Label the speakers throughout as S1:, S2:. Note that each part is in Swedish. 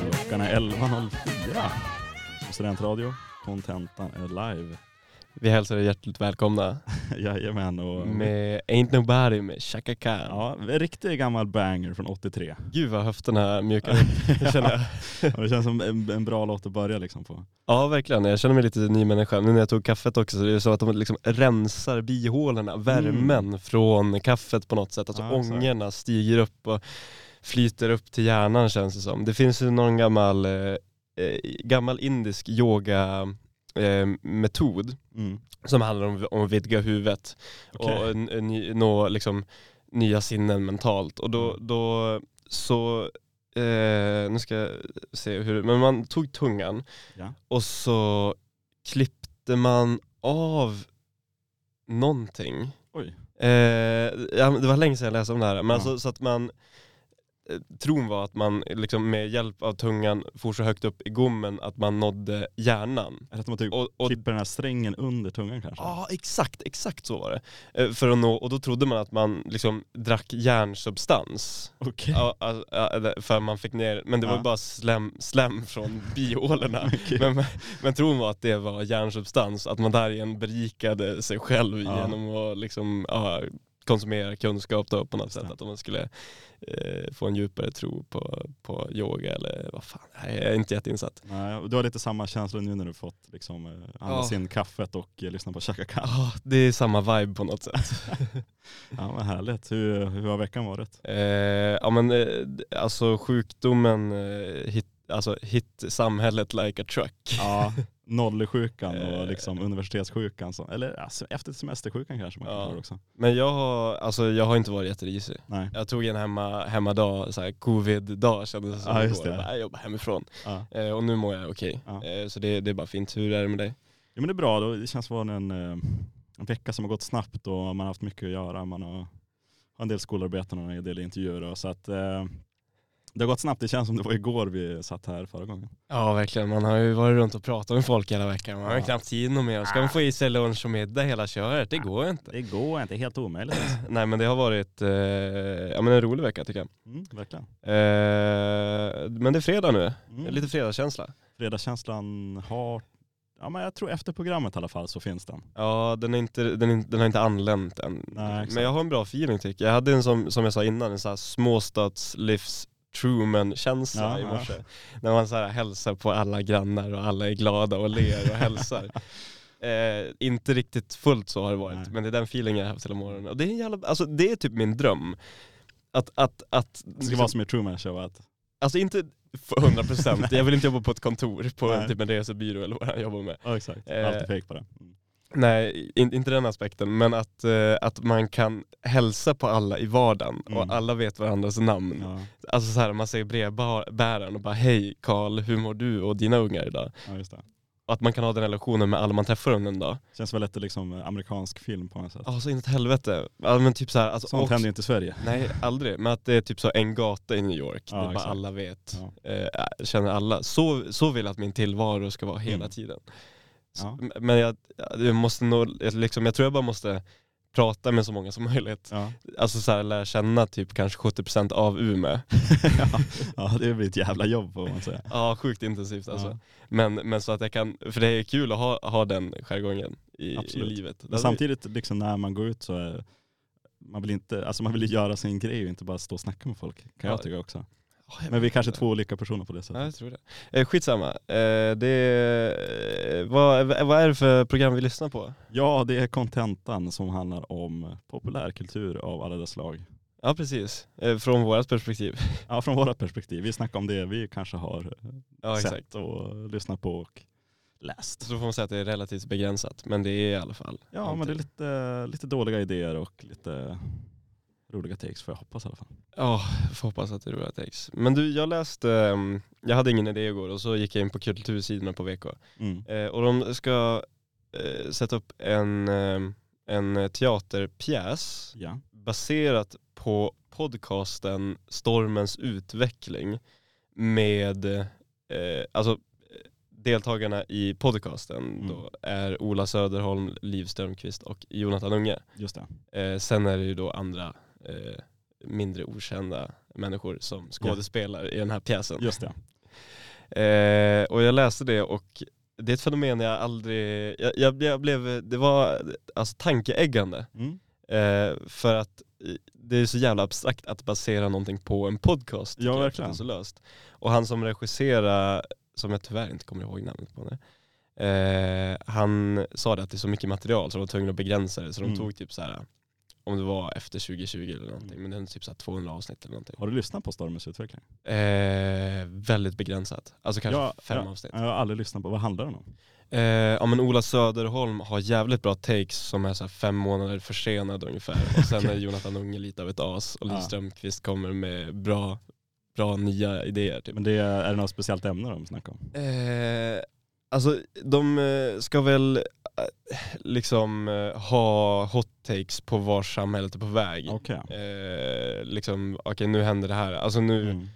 S1: Klockan är 11.04 på Studentradio. Kontentan är live.
S2: Vi hälsar er hjärtligt välkomna
S1: Jajamän. Och,
S2: med Ain't Nobody med Chaka Khan.
S1: ja, en riktig gammal banger från 83.
S2: Gud vad höfterna mjukar upp, det känner jag.
S1: Ja, det känns som en, en bra låt att börja liksom på.
S2: Ja verkligen, jag känner mig lite ny människa. Nu när jag tog kaffet också så är det så att de liksom rensar bihålorna, värmen från kaffet på något sätt. Alltså
S1: Mm. Ja, exakt.
S2: ångorna stiger upp och flyter upp till hjärnan känns det som. Det finns ju någon gammal, eh, eh, gammal indisk yoga eh, metod
S1: Mm.
S2: som handlar om, om att vidga huvudet och
S1: Okej.
S2: n- ny, nå liksom, nya sinnen mentalt. Och då,
S1: Mm.
S2: då så, eh, nu ska jag se hur, men man tog tungan
S1: Ja.
S2: och så klippte man av någonting.
S1: Oj.
S2: Eh, ja, det var länge sedan jag läste om det här, men
S1: Ja.
S2: alltså så att man eh, Tron var att man liksom med hjälp av tungan for så högt upp i gommen att man nådde hjärnan.
S1: Eller att man typ
S2: Och, och
S1: klipper den här strängen under tungan kanske.
S2: Ja, exakt, exakt så var det. Eh, För att nå, och då trodde man att man liksom drack järnsubstans.
S1: Okej.
S2: Ja, all- ja, eller för man fick ner, men det var
S1: Ja.
S2: ju bara slem, slem från bihålorna.
S1: Okej.
S2: men, men tron var att det var järnsubstans, att man därigen berikade sig själv
S1: Ja.
S2: genom att liksom, ja, konsumera kunskap då på något
S1: Just
S2: sätt.
S1: det.
S2: Att man skulle eh, få en djupare tro på, på yoga eller vad fan, nej, jag är inte jätteinsatt.
S1: Nej, och du har lite samma känsla nu när du fått liksom, eh, andas
S2: Ja.
S1: in kaffet och eh, lyssna på Chaka Khan.
S2: Ah, det är samma vibe på något sätt.
S1: Ja, vad härligt. Hur, hur har veckan varit?
S2: Eh, ja men eh, d- alltså sjukdomen eh, hit, alltså hit samhället like a truck.
S1: Ja, nollsjukan och
S2: Eh.
S1: liksom universitetssjukan. Så, eller alltså, efter semestersjukan kanske man kan
S2: Ja.
S1: kalla det också.
S2: Men jag har, alltså jag har inte varit jätterisig.
S1: Nej.
S2: Jag tog en hemma, hemmadag, så här, covid-dag kändes det som
S1: Ja,
S2: igår.
S1: just det.
S2: Jag, bara, jag jobbar hemifrån.
S1: Ja.
S2: Eh, och nu mår jag okej.
S1: Ja.
S2: Eh, så det, det är bara fint. Hur är det med dig?
S1: Ja men det är bra, då. det känns vara en, eh, en vecka som har gått snabbt och man har haft mycket att göra. Man har, har en del skolarbeten och en del intervjuer. Och, så att, eh, det har gått snabbt, det känns som det var igår vi satt här förra gången.
S2: Ja verkligen, man har ju varit runt och pratat med folk hela veckan. Man har
S1: Ja.
S2: ju knappt tid något mer. Ska man få i sig lunch och middag hela köret? Det går ju inte.
S1: Det går inte, helt omöjligt.
S2: Nej men det har varit eh, ja, men en rolig vecka tycker jag.
S1: Mm, verkligen.
S2: Eh, men det är fredag nu.
S1: Mm.
S2: Lite fredagskänsla.
S1: Fredagskänslan har, ja men jag tror efter programmet i alla fall så finns den.
S2: Ja, den, är inte, den, är, inte- den har inte anlänt än.
S1: Nej, exakt.
S2: men jag har en bra feeling tycker jag. Jag hade en som, som jag sa innan, en sån här småstadslivs Truman-känsla
S1: Ja,
S2: i
S1: ja.
S2: morse. När man så här hälsar på alla grannar och alla är glada och ler och hälsar. Eh, inte riktigt fullt så har det varit,
S1: Nej.
S2: men det är den feelingen jag har haft hela morgonen. Och det är, en jävla, alltså, det är typ min dröm. Att, att, att, liksom,
S1: Det ska vara som i Truman Show att
S2: alltså inte för 100%, jag vill inte jobba på ett kontor på
S1: Nej.
S2: typ en resebyrå eller vad jag jobbar med.
S1: ja, exakt.
S2: Eh.
S1: alltid fake på det. Mm.
S2: Nej, in, inte den aspekten, men att, eh, att man kan hälsa på alla i vardagen
S1: Mm.
S2: och alla vet varandras namn.
S1: Ja,
S2: Alltså så här, man säger brevbäraren och bara hej Karl, hur mår du och dina ungar idag?
S1: ja, just det.
S2: Och att man kan ha den relationen med alla man träffar under en dag.
S1: Känns väl lite liksom amerikansk film på något sätt.
S2: Ja, så inåt helvete. Ja, men typ så här, alltså,
S1: Sånt
S2: och-
S1: händer ju inte i Sverige.
S2: Nej, aldrig. Men att det är typ så en gata i New York,
S1: Ja,
S2: där bara
S1: exakt.
S2: alla vet,
S1: Ja.
S2: eh, känner alla. Så, så vill jag att min tillvaro ska vara hela
S1: Mm.
S2: tiden. S-
S1: Ja.
S2: m- Men jag, jag måste nog, jag liksom, jag tror jag bara måste prata med så många som möjligt.
S1: Ja.
S2: Alltså så här, lära känna typ kanske 70% av Umeå.
S1: ja, ja, det blir ett jävla jobb får man säga.
S2: Ja, sjukt intensivt alltså.
S1: Ja.
S2: Men, men så att jag kan, för det är kul att ha, ha den jargongen i, i
S1: Absolut.
S2: livet.
S1: Men samtidigt liksom, när man går ut så är, man vill inte, alltså man vill ju göra sin grej och inte bara stå och snacka med folk. Kan jag
S2: Ja.
S1: tycka också.
S2: Ja, jag
S1: Men vi är
S2: vet
S1: kanske
S2: inte.
S1: två olika personer på det sättet.
S2: Ja, jag tror det. Eh, skitsamma. Eh, det, eh, vad, vad är det för program vi lyssnar på?
S1: Ja, det är kontentan som handlar om populärkultur av alla dess slag.
S2: Ja, precis. Eh, från vårt perspektiv.
S1: Ja, från våra perspektiv. Vi snackar om det vi kanske har
S2: Ja, exakt.
S1: sett och lyssnat på och läst.
S2: Så får man säga att det är relativt begränsat, men det är i alla fall.
S1: Ja, men det är lite, lite dåliga idéer och lite roliga takes får jag hoppas i alla fall.
S2: Ja, får hoppas att det är roliga text. Men du, jag läste, ehm, jag hade ingen idé igår och så gick jag in på kultursidorna på VK.
S1: Mm.
S2: Eh, och de ska eh, sätta upp en, ehm, en teaterpjäs
S1: Ja.
S2: baserat på podcasten Stormens utveckling med, eh, alltså eh, deltagarna i podcasten
S1: Mm.
S2: då är Ola Söderholm, Liv Strömquist och Jonathan Unge.
S1: Just det.
S2: Eh, sen är det ju då andra eh, mindre okända människor som skådespelar i den här pjäsen.
S1: Just det.
S2: Eh, och jag läste det och det är ett fenomen jag aldrig, jag, jag, jag blev, det var alltså tankeäggande.
S1: Mm.
S2: Eh, för att eh, det är så jävla abstrakt att basera någonting på en podcast. tycker jag, för att
S1: verkligen.
S2: Det är så löst. Och han som regisserar, som jag tyvärr inte kommer ihåg namnet på nu, eh, han sa det att det är så mycket material så de var tvungna att begränsa det. Så de
S1: Mm.
S2: tog typ så här, om det var efter 2020 eller någonting,
S1: Mm.
S2: men det är typ så här 200 avsnitt eller någonting.
S1: Har du lyssnat på Stormens utveckling?
S2: Eh, väldigt begränsat, alltså kanske
S1: Ja,
S2: fem
S1: ja.
S2: avsnitt.
S1: Jag har aldrig lyssnat på, vad handlar den om?
S2: Eh, ja men Ola Söderholm har jävligt bra takes som är så här fem månader försenad ungefär. Och sen är Jonathan Unge lite av ett as och Liv
S1: Ja.
S2: Strömquist kommer med bra, bra nya idéer. Typ.
S1: Men det är, är det något speciellt ämne de snackar om?
S2: Eh, alltså de eh, ska väl eh, liksom eh, ha hot takes på var samhället är på väg.
S1: Okej.
S2: Eh, liksom, okej nu händer det här. Alltså nu,
S1: Mm.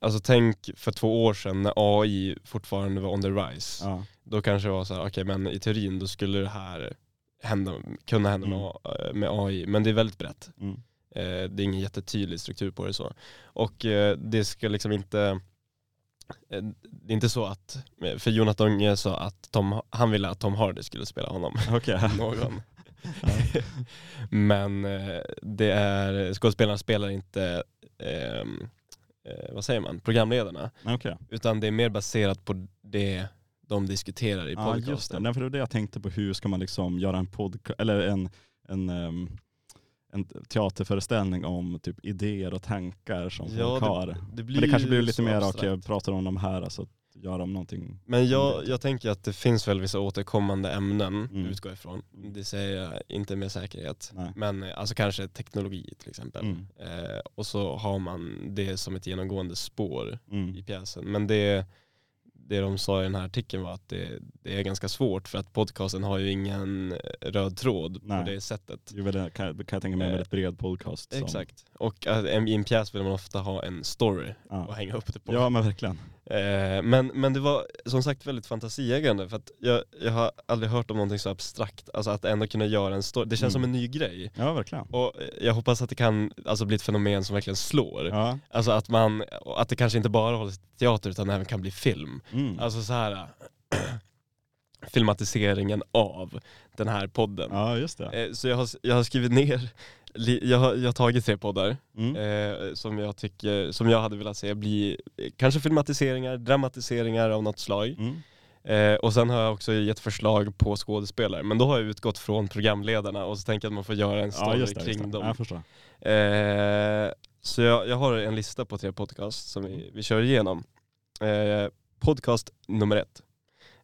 S2: alltså tänk för två år sedan när AI fortfarande var on the rise.
S1: Ja.
S2: då kanske det var så här, okej men i teorin då skulle det här hända, kunna hända med,
S1: Mm.
S2: A- eh, med AI, men det är väldigt brett.
S1: Mm.
S2: Eh, det är ingen jättetydlig struktur på det så. Och eh, det ska liksom inte, eh, det är inte så att, eh, för Jonathan Unge sa att Tom, han ville att Tom Hardy skulle spela honom,
S1: Okej.
S2: någon. men eh, det är, skådespelarna spelar inte, ehm, eh, vad säger man, programledarna,
S1: Nej, Okej.
S2: utan det är mer baserat på det de diskuterar i
S1: Ja
S2: podcasten.
S1: just det, Nej, för det var det jag tänkte på. Hur ska man liksom göra en podcast, eller en, en, ehm, en teaterföreställning om typ idéer och tankar som
S2: Ja,
S1: folk
S2: det
S1: har.
S2: blir
S1: Men det kanske
S2: ju
S1: blir lite
S2: så
S1: mer, okej
S2: abstrakt.
S1: jag pratar om de här, alltså gör de någonting.
S2: Men jag, jag tänker att det finns väl vissa återkommande ämnen,
S1: Mm.
S2: utgår jag ifrån. Det säger jag inte med säkerhet.
S1: Nej.
S2: Men eh, alltså kanske teknologi till exempel.
S1: Mm.
S2: Eh, och så har man det som ett genomgående spår i
S1: Mm.
S2: pjäsen. Men det, det de sa i den här artikeln var att det, det är ganska svårt för att podcasten har ju ingen eh, röd tråd
S1: Nej.
S2: på det sättet.
S1: Jo, men det kan, jag- kan jag tänka mig en
S2: Eh,
S1: väldigt bred podcast. som-
S2: Exakt. Och eh, i en pjäs vill man ofta ha en story att
S1: Ja.
S2: hänga upp det på.
S1: ja men verkligen.
S2: Eh, men, men det var som sagt väldigt fantasieggande för att jag, jag har aldrig hört om någonting så abstrakt, alltså att ändå kunna göra en story, det känns
S1: Mm.
S2: som en ny grej.
S1: Ja verkligen.
S2: Och eh, jag hoppas att det kan alltså, bli ett fenomen som verkligen slår.
S1: Ja.
S2: Alltså att, man, och att det kanske inte bara håller sig till teater utan även kan bli film.
S1: Mm.
S2: Alltså så här eh, filmatiseringen av den här podden.
S1: ja just det.
S2: Eh, Så jag har, jag har skrivit ner, li- jag har, jag har tagit tre poddar
S1: Mm.
S2: eh, som, jag tycker, som jag hade velat se bli eh, kanske filmatiseringar, dramatiseringar av något slag.
S1: Mm.
S2: Eh, och sen har jag också gett förslag på skådespelare, men då har jag utgått från programledarna och så tänker jag att man får göra en
S1: Ja
S2: story
S1: just det.
S2: kring
S1: Just det. Ja,
S2: dem.
S1: jag förstår.
S2: Eh, så jag, jag har en lista på tre podcast som vi, vi kör igenom. Eh, podcast nummer ett,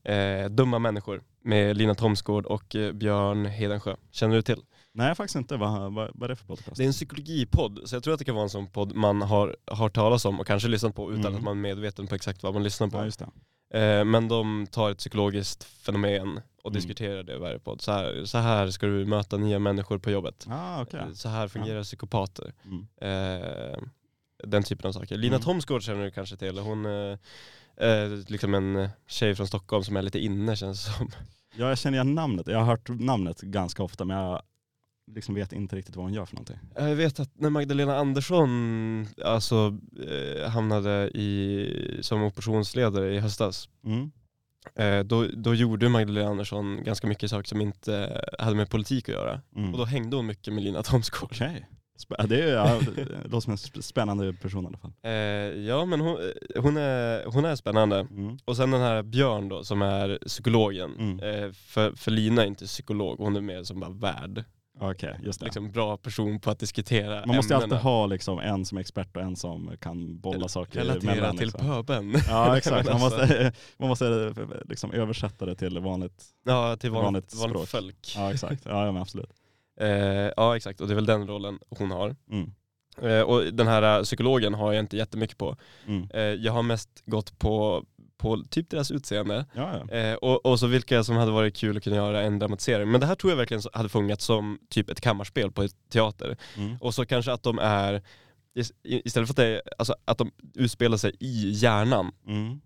S2: eh, Dumma människor med Lina Thomsgård och eh, Björn Hedensjö. Känner du till?
S1: Nej faktiskt inte, vad, vad, vad är det för podcast?
S2: Det är en psykologipodd, så jag tror att det kan vara en sån podd man har hört talas om och kanske lyssnat på utan
S1: Mm.
S2: att man är medveten på exakt vad man lyssnar på.
S1: Ja just det.
S2: Eh, men de tar ett psykologiskt fenomen och
S1: Mm.
S2: diskuterar det i varje podd. Så här, så här ska du möta nya människor på jobbet. Eh,
S1: Ah, okej.
S2: Så här fungerar psykopater.
S1: Mm.
S2: Eh, den typen av saker. Lina
S1: Mm.
S2: Thomsgård känner du kanske till. Hon eh, är liksom en tjej från Stockholm som är lite inne känns det som.
S1: Ja, jag känner igen namnet. Jag har hört namnet ganska ofta men jag liksom vet inte riktigt vad hon gör för någonting.
S2: Eh, Jag vet att när Magdalena Andersson alltså, eh, hamnade i, som oppositionsledare i höstas,
S1: Mm.
S2: eh, då, då gjorde Magdalena Andersson ganska mycket saker som inte hade med politik att göra.
S1: Mm.
S2: Och då hängde hon mycket med Lina Thomsgård.
S1: Okej. Spä- Det, är, ja, det låter som en sp- spännande person i alla fall.
S2: Eh, ja men hon, eh, hon, är, hon är spännande.
S1: Mm.
S2: Och sen den här Björn då som är psykologen.
S1: Mm.
S2: Eh, för, för Lina är inte psykolog, hon är mer som bara värd.
S1: Okej, just det.
S2: Liksom bra person på att diskutera
S1: Man måste
S2: ämnena.
S1: alltid ha liksom, en som är expert och en som kan bolla saker
S2: Relatera
S1: emellan,
S2: till
S1: liksom.
S2: pöbeln.
S1: Ja exakt, man
S2: Alltså.
S1: måste, man måste liksom översätta det till vanligt.
S2: Ja, till
S1: Vanligt
S2: vanligt, vanligt,
S1: språk.
S2: folk. Ja.
S1: Ja exakt, ja ja, men absolut.
S2: Eh, ja exakt, och det är väl den rollen hon har.
S1: Mm.
S2: Eh, och den här eh, psykologen har jag inte jättemycket på.
S1: Mm.
S2: Eh, jag har mest gått på, på typ deras utseende.
S1: Ja, ja.
S2: Eh, och, och så vilka som hade varit kul att kunna göra en dramatisering. Men det här tror jag verkligen så- hade fungerat som typ ett kammarspel på ett teater.
S1: Mm.
S2: Och så kanske att de är, is- i- istället för att, det, är- alltså, att de utspelar sig i hjärnan,
S1: Mm.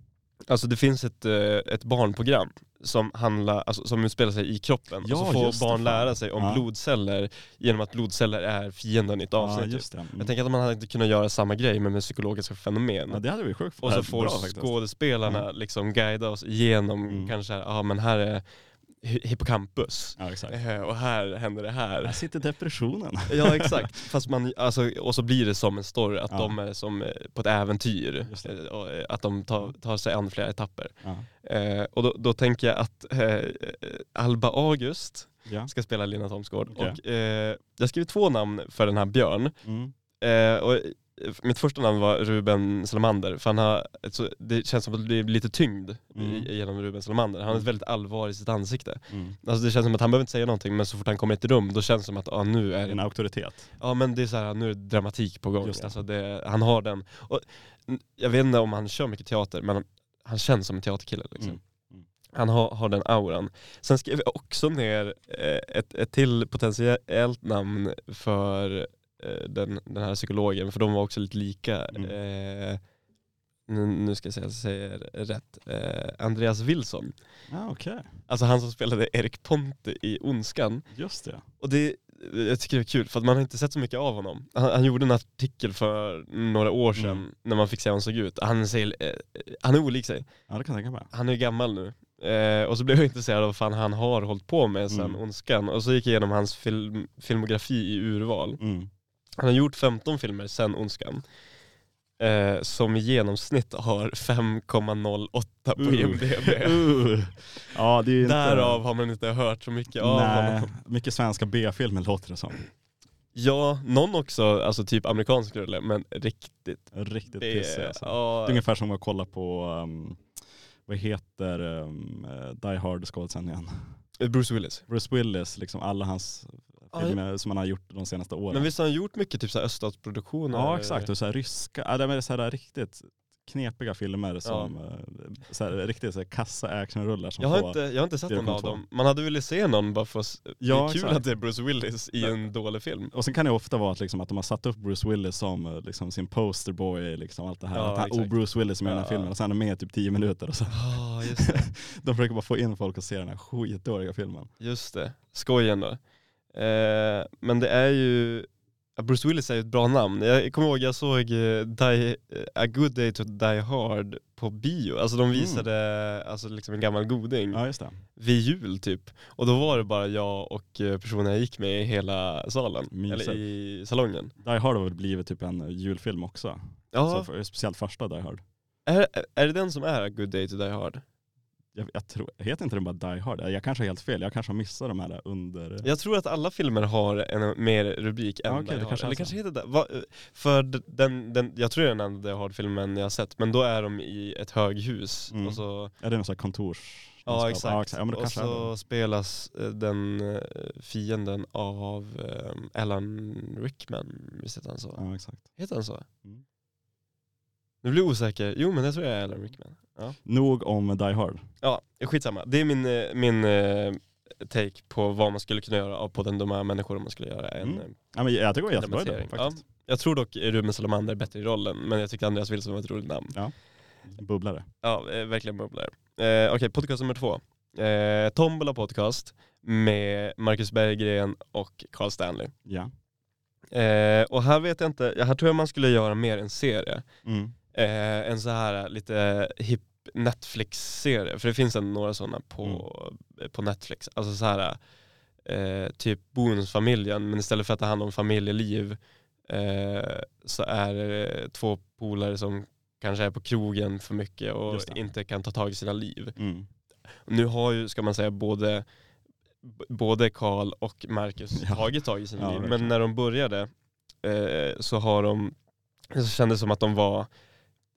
S2: Alltså det finns ett, eh, ett barnprogram som, handlar, alltså, som utspelar sig i kroppen.
S1: Ja,
S2: och så får
S1: just det,
S2: barn
S1: fan.
S2: lära sig om
S1: Ja.
S2: blodceller genom att blodceller är fienden i ett
S1: Ja,
S2: avsnitt. typ.
S1: just det. Mm.
S2: Jag tänker att man hade kunnat göra samma grej men med psykologiska fenomen.
S1: ja, det hade vi sjukt
S2: och
S1: det
S2: så
S1: här är
S2: får
S1: bra faktiskt.
S2: skådespelarna liksom guida oss igenom
S1: Mm.
S2: kanske, ja ah, men här är hy- hippocampus
S1: Ja, exakt.
S2: eh, och här händer det
S1: Här
S2: här.
S1: sitter depressionen.
S2: ja exakt, fast man, alltså, och så blir det som en story, att
S1: Ja.
S2: de är som eh, på ett äventyr.
S1: Just
S2: Eh,
S1: det.
S2: och, eh, Att de tar, tar sig an flera etapper.
S1: Ja.
S2: Eh, och då, då tänker jag att eh, eh, Alba August
S1: Ja.
S2: ska spela Lina Thomsgård.
S1: Okej.
S2: Och, eh, jag skrev två namn för den här Björn.
S1: Mm.
S2: Eh, och, eh, mitt första namn var Ruben Salamander, för han har, ett så- det känns som att det blir lite tyngd
S1: Mm.
S2: i, genom Ruben Salamander. Han har ett
S1: Mm.
S2: väldigt allvar i sitt ansikte.
S1: Mm.
S2: Alltså det känns som att han behöver inte säga någonting, men så fort han kommer i ett rum då känns det som att ah, nu är det
S1: En auktoritet.
S2: Ja men det är så här, nu är det dramatik på gång.
S1: Just det.
S2: Alltså det, han har den. Och, n- jag vet inte om han kör mycket teater men han, han känns som en teaterkille. Liksom.
S1: Mm. Mm.
S2: Han har, har den auran. Sen skrev jag också ner eh, ett, ett till potentiellt namn för eh, den, den här psykologen för de var också lite lika.
S1: Mm.
S2: Eh, nu, nu ska jag säga så jag säger rätt. Eh, Andreas Wilson.
S1: Ja, okej.
S2: Alltså han som spelade Erik Ponte i Ondskan.
S1: Just det.
S2: Och det, jag tycker det är kul för att man har inte sett så mycket av honom. Han, han gjorde en artikel för några år sedan
S1: Mm.
S2: när man fick se hur han såg ut. Han, ser, eh, han är olik sig.
S1: Ja, det kan jag tänka mig.
S2: Han är gammal nu. Eh, och så blev jag intresserad av vad fan han har hållit på med sen
S1: Mm.
S2: Ondskan. Och så gick jag igenom hans film, filmografi i urval.
S1: Mm.
S2: Han har gjort 15 filmer sen Ondskan. Eh, som i genomsnitt har 5,08 på
S1: Uh.
S2: IMDB.
S1: Uh. Ja, det är ju inte...
S2: Därav har man inte hört så mycket av honom.
S1: Nej, mycket svenska B-filmer låter det som.
S2: Ja, någon också, alltså typ amerikansk rulle, men riktigt
S1: Riktigt
S2: det-
S1: pissig alltså.
S2: ja,
S1: Det är ungefär som att kolla på, um, vad heter um, eh, Die Hard skådisen igen?
S2: Bruce Willis.
S1: Bruce Willis, liksom alla hans
S2: Ja,
S1: filmer som han har gjort de senaste åren.
S2: Men visst har han gjort mycket typ så här öststatsproduktioner?
S1: ja exakt, och så här ryska, ja, det är så här riktigt knepiga filmer som, eh, så här, riktigt så här kassa actionrullar som
S2: Jag har,
S1: får,
S2: inte, jag har inte sett någon av
S1: 4,2.
S2: dem. Man hade velat se någon bara för att s- det
S1: Ja,
S2: är kul
S1: exakt.
S2: att det är Bruce Willis i en dålig film.
S1: Och sen kan det ofta vara att, liksom, att de har satt upp Bruce Willis som eh, liksom, sin posterboy, liksom, allt det här.
S2: Ja,
S1: att han,
S2: exakt.
S1: oh, Bruce Willis är med i den här
S2: Ja.
S1: filmen och sen är han med i typ 10 minuter och så.
S2: Ja, Ah, just det.
S1: De försöker bara få in folk att se den här skitdåliga filmen.
S2: Just det. Skoj ändå. Eh, men det är ju, ja, Bruce Willis är ju ett bra namn. Jag kommer ihåg jag såg eh, die, eh, A Good Day to Die Hard på bio. Alltså de
S1: Mm.
S2: visade alltså, liksom en gammal goding.
S1: Ja just det,
S2: vid jul typ. Och då var det bara jag och eh, personen jag gick med i hela salen.
S1: Mysigt.
S2: Eller i salongen.
S1: Die Hard har väl blivit typ en julfilm också.
S2: Ja,
S1: Så, speciellt första Die Hard.
S2: är, är det den som är A Good Day to Die Hard?
S1: Jag, jag tror, heter inte den bara Die Hard? Jag kanske har helt fel, jag kanske har missat de här under...
S2: Jag tror att alla filmer har en mer rubrik än
S1: Ja, okej,
S2: Die
S1: det
S2: Hard.
S1: kanske alltså. är
S2: Eller
S1: så.
S2: kanske heter det. Va, eh, för d- den, den, jag tror det är den enda Die Hard-filmen jag har sett. Men då är de i ett höghus.
S1: Mm.
S2: Och så,
S1: Är det någon sån här kontors...
S2: ja, exakt.
S1: Ja men det
S2: och
S1: kanske är
S2: så
S1: det.
S2: spelas eh, den eh, fienden av eh, Alan Rickman. Visst heter han så?
S1: Ja exakt.
S2: Heter han så?
S1: Mm.
S2: Nu blir jag osäker. Jo men det tror jag är Alan Rickman.
S1: Nog om Die Hard.
S2: Ja, skitsamma. Det är min, eh, min eh, take på vad man skulle kunna göra av på den dumma människor om man skulle göra en
S1: Mm.
S2: eh,
S1: Ja, men jag tycker det var jättebra idé
S2: dramatisering. Ja,
S1: faktiskt.
S2: jag tror dock Ruben Salamander är bättre i rollen, men jag tyckte Andreas Wilson var ett roligt namn.
S1: Bubblare.
S2: Ja, eh, verkligen bubblar. Eh, Okej, podcast nummer två. Eh, Tombola podcast med Marcus Berggren och Carl Stanley.
S1: Ja.
S2: Eh, och här vet jag inte, här tror jag man skulle göra mer en serie.
S1: Mm.
S2: eh, en så här lite hipp Netflix-serie, för det finns ändå några sådana på,
S1: Mm.
S2: på Netflix. Alltså så här eh, typ Bonusfamiljen, men istället för att det handlar om familjeliv eh, så är det två polare som kanske är på krogen för mycket och
S1: Just det.
S2: inte kan ta tag i sina liv.
S1: Mm.
S2: Nu har ju, ska man säga, både b- både Karl och Marcus
S1: Ja.
S2: tagit tag i sina
S1: Ja,
S2: liv.
S1: verkligen.
S2: Men när de började eh, så har de, så kändes det som att de var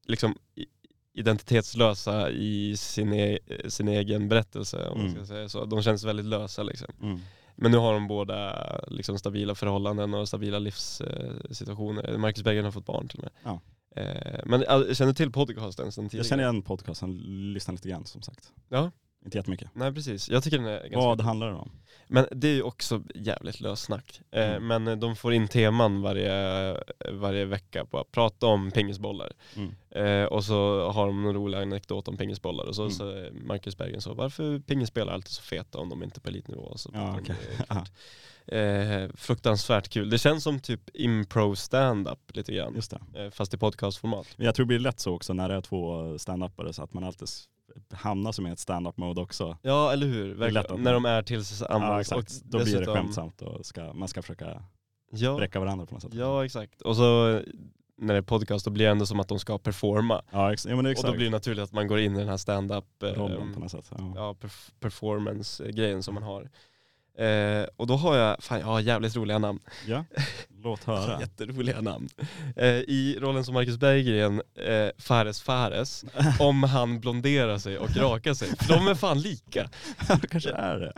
S2: liksom i- identitetslösa i sin, e, sin egen berättelse. Om man
S1: Mm.
S2: ska säga så. De kändes väldigt lösa liksom.
S1: Mm.
S2: Men nu har de båda liksom, stabila förhållanden och stabila livssituationer. Marcus Berggren har fått barn till och med.
S1: Ja.
S2: Eh, men all- känner du till podcasten sen tidigare?
S1: Jag känner igen podcasten, lyssnar lite grann som sagt. Inte jättemycket.
S2: Nej precis, jag tycker den är ganska
S1: Vad handlar den om?
S2: Men det är ju också jävligt löst snack. Eh,
S1: Mm.
S2: Men de får in teman varje, varje vecka på att prata om pingisbollar.
S1: Mm.
S2: Eh, och så har de någon rolig anekdot om pingisbollar. Och så,
S1: Mm.
S2: så är Marcus Berggren så, varför pingisspelare är alltid så feta om de inte är på elitnivå? Och så
S1: Ja,
S2: pratar de
S1: okej.
S2: om det. eh, fruktansvärt kul. Det känns som typ impro stand-up lite grann.
S1: Just det.
S2: Eh, fast i podcastformat.
S1: Men Jag tror det blir lätt så också när det är två standupare så att man alltid s- hamnar som i ett standup mode också.
S2: Ja eller hur,
S1: lätt att-
S2: verkligen. När de är tillsammans.
S1: Ja,
S2: och
S1: exakt. Då blir det
S2: dessutom-
S1: skämtsamt och ska, man ska försöka
S2: Ja,
S1: bräcka varandra på något sätt.
S2: Ja exakt. Och så eh, när det är podcast då blir det ändå som att de ska performa.
S1: ja, ex- ja men det är
S2: Och
S1: exakt.
S2: då blir det naturligt att man går in i den här stand-up eh,
S1: Rollen på något sätt. Ja.
S2: ja, perf- performance-grejen som man har. Eh, och då har jag, fan jag har jävligt roliga namn.
S1: Ja. Låt höra.
S2: Jätteroliga namn. Eh, I rollen som Marcus Berggren, eh, Fares Fares, om han blonderar sig och rakar sig. För de är fan lika.
S1: det kanske är det.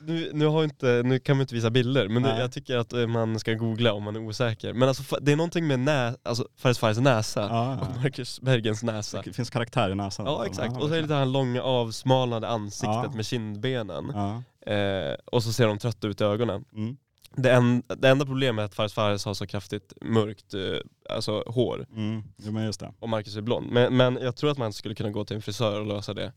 S2: Nu, nu, har jag inte, nu kan vi inte visa bilder, men
S1: Nej.
S2: jag tycker att eh, man ska googla om man är osäker. Men alltså, fa- det är någonting med nä, alltså, Fares Fares näsa.
S1: Ja.
S2: och Marcus Bergens näsa.
S1: Det finns karaktär i näsan.
S2: Ja exakt, och så är det
S1: verkligen.
S2: det här långa avsmalnade ansiktet
S1: Ja.
S2: med kindbenen.
S1: Ja.
S2: Eh, och så ser de trötta ut i ögonen.
S1: Mm.
S2: Det, en, det enda problemet är att Fares Fares har så kraftigt mörkt eh, alltså, hår
S1: Mm. Jo, men just det.
S2: och Marcus är blond. Men, men jag tror att man skulle kunna gå till en frisör och lösa det.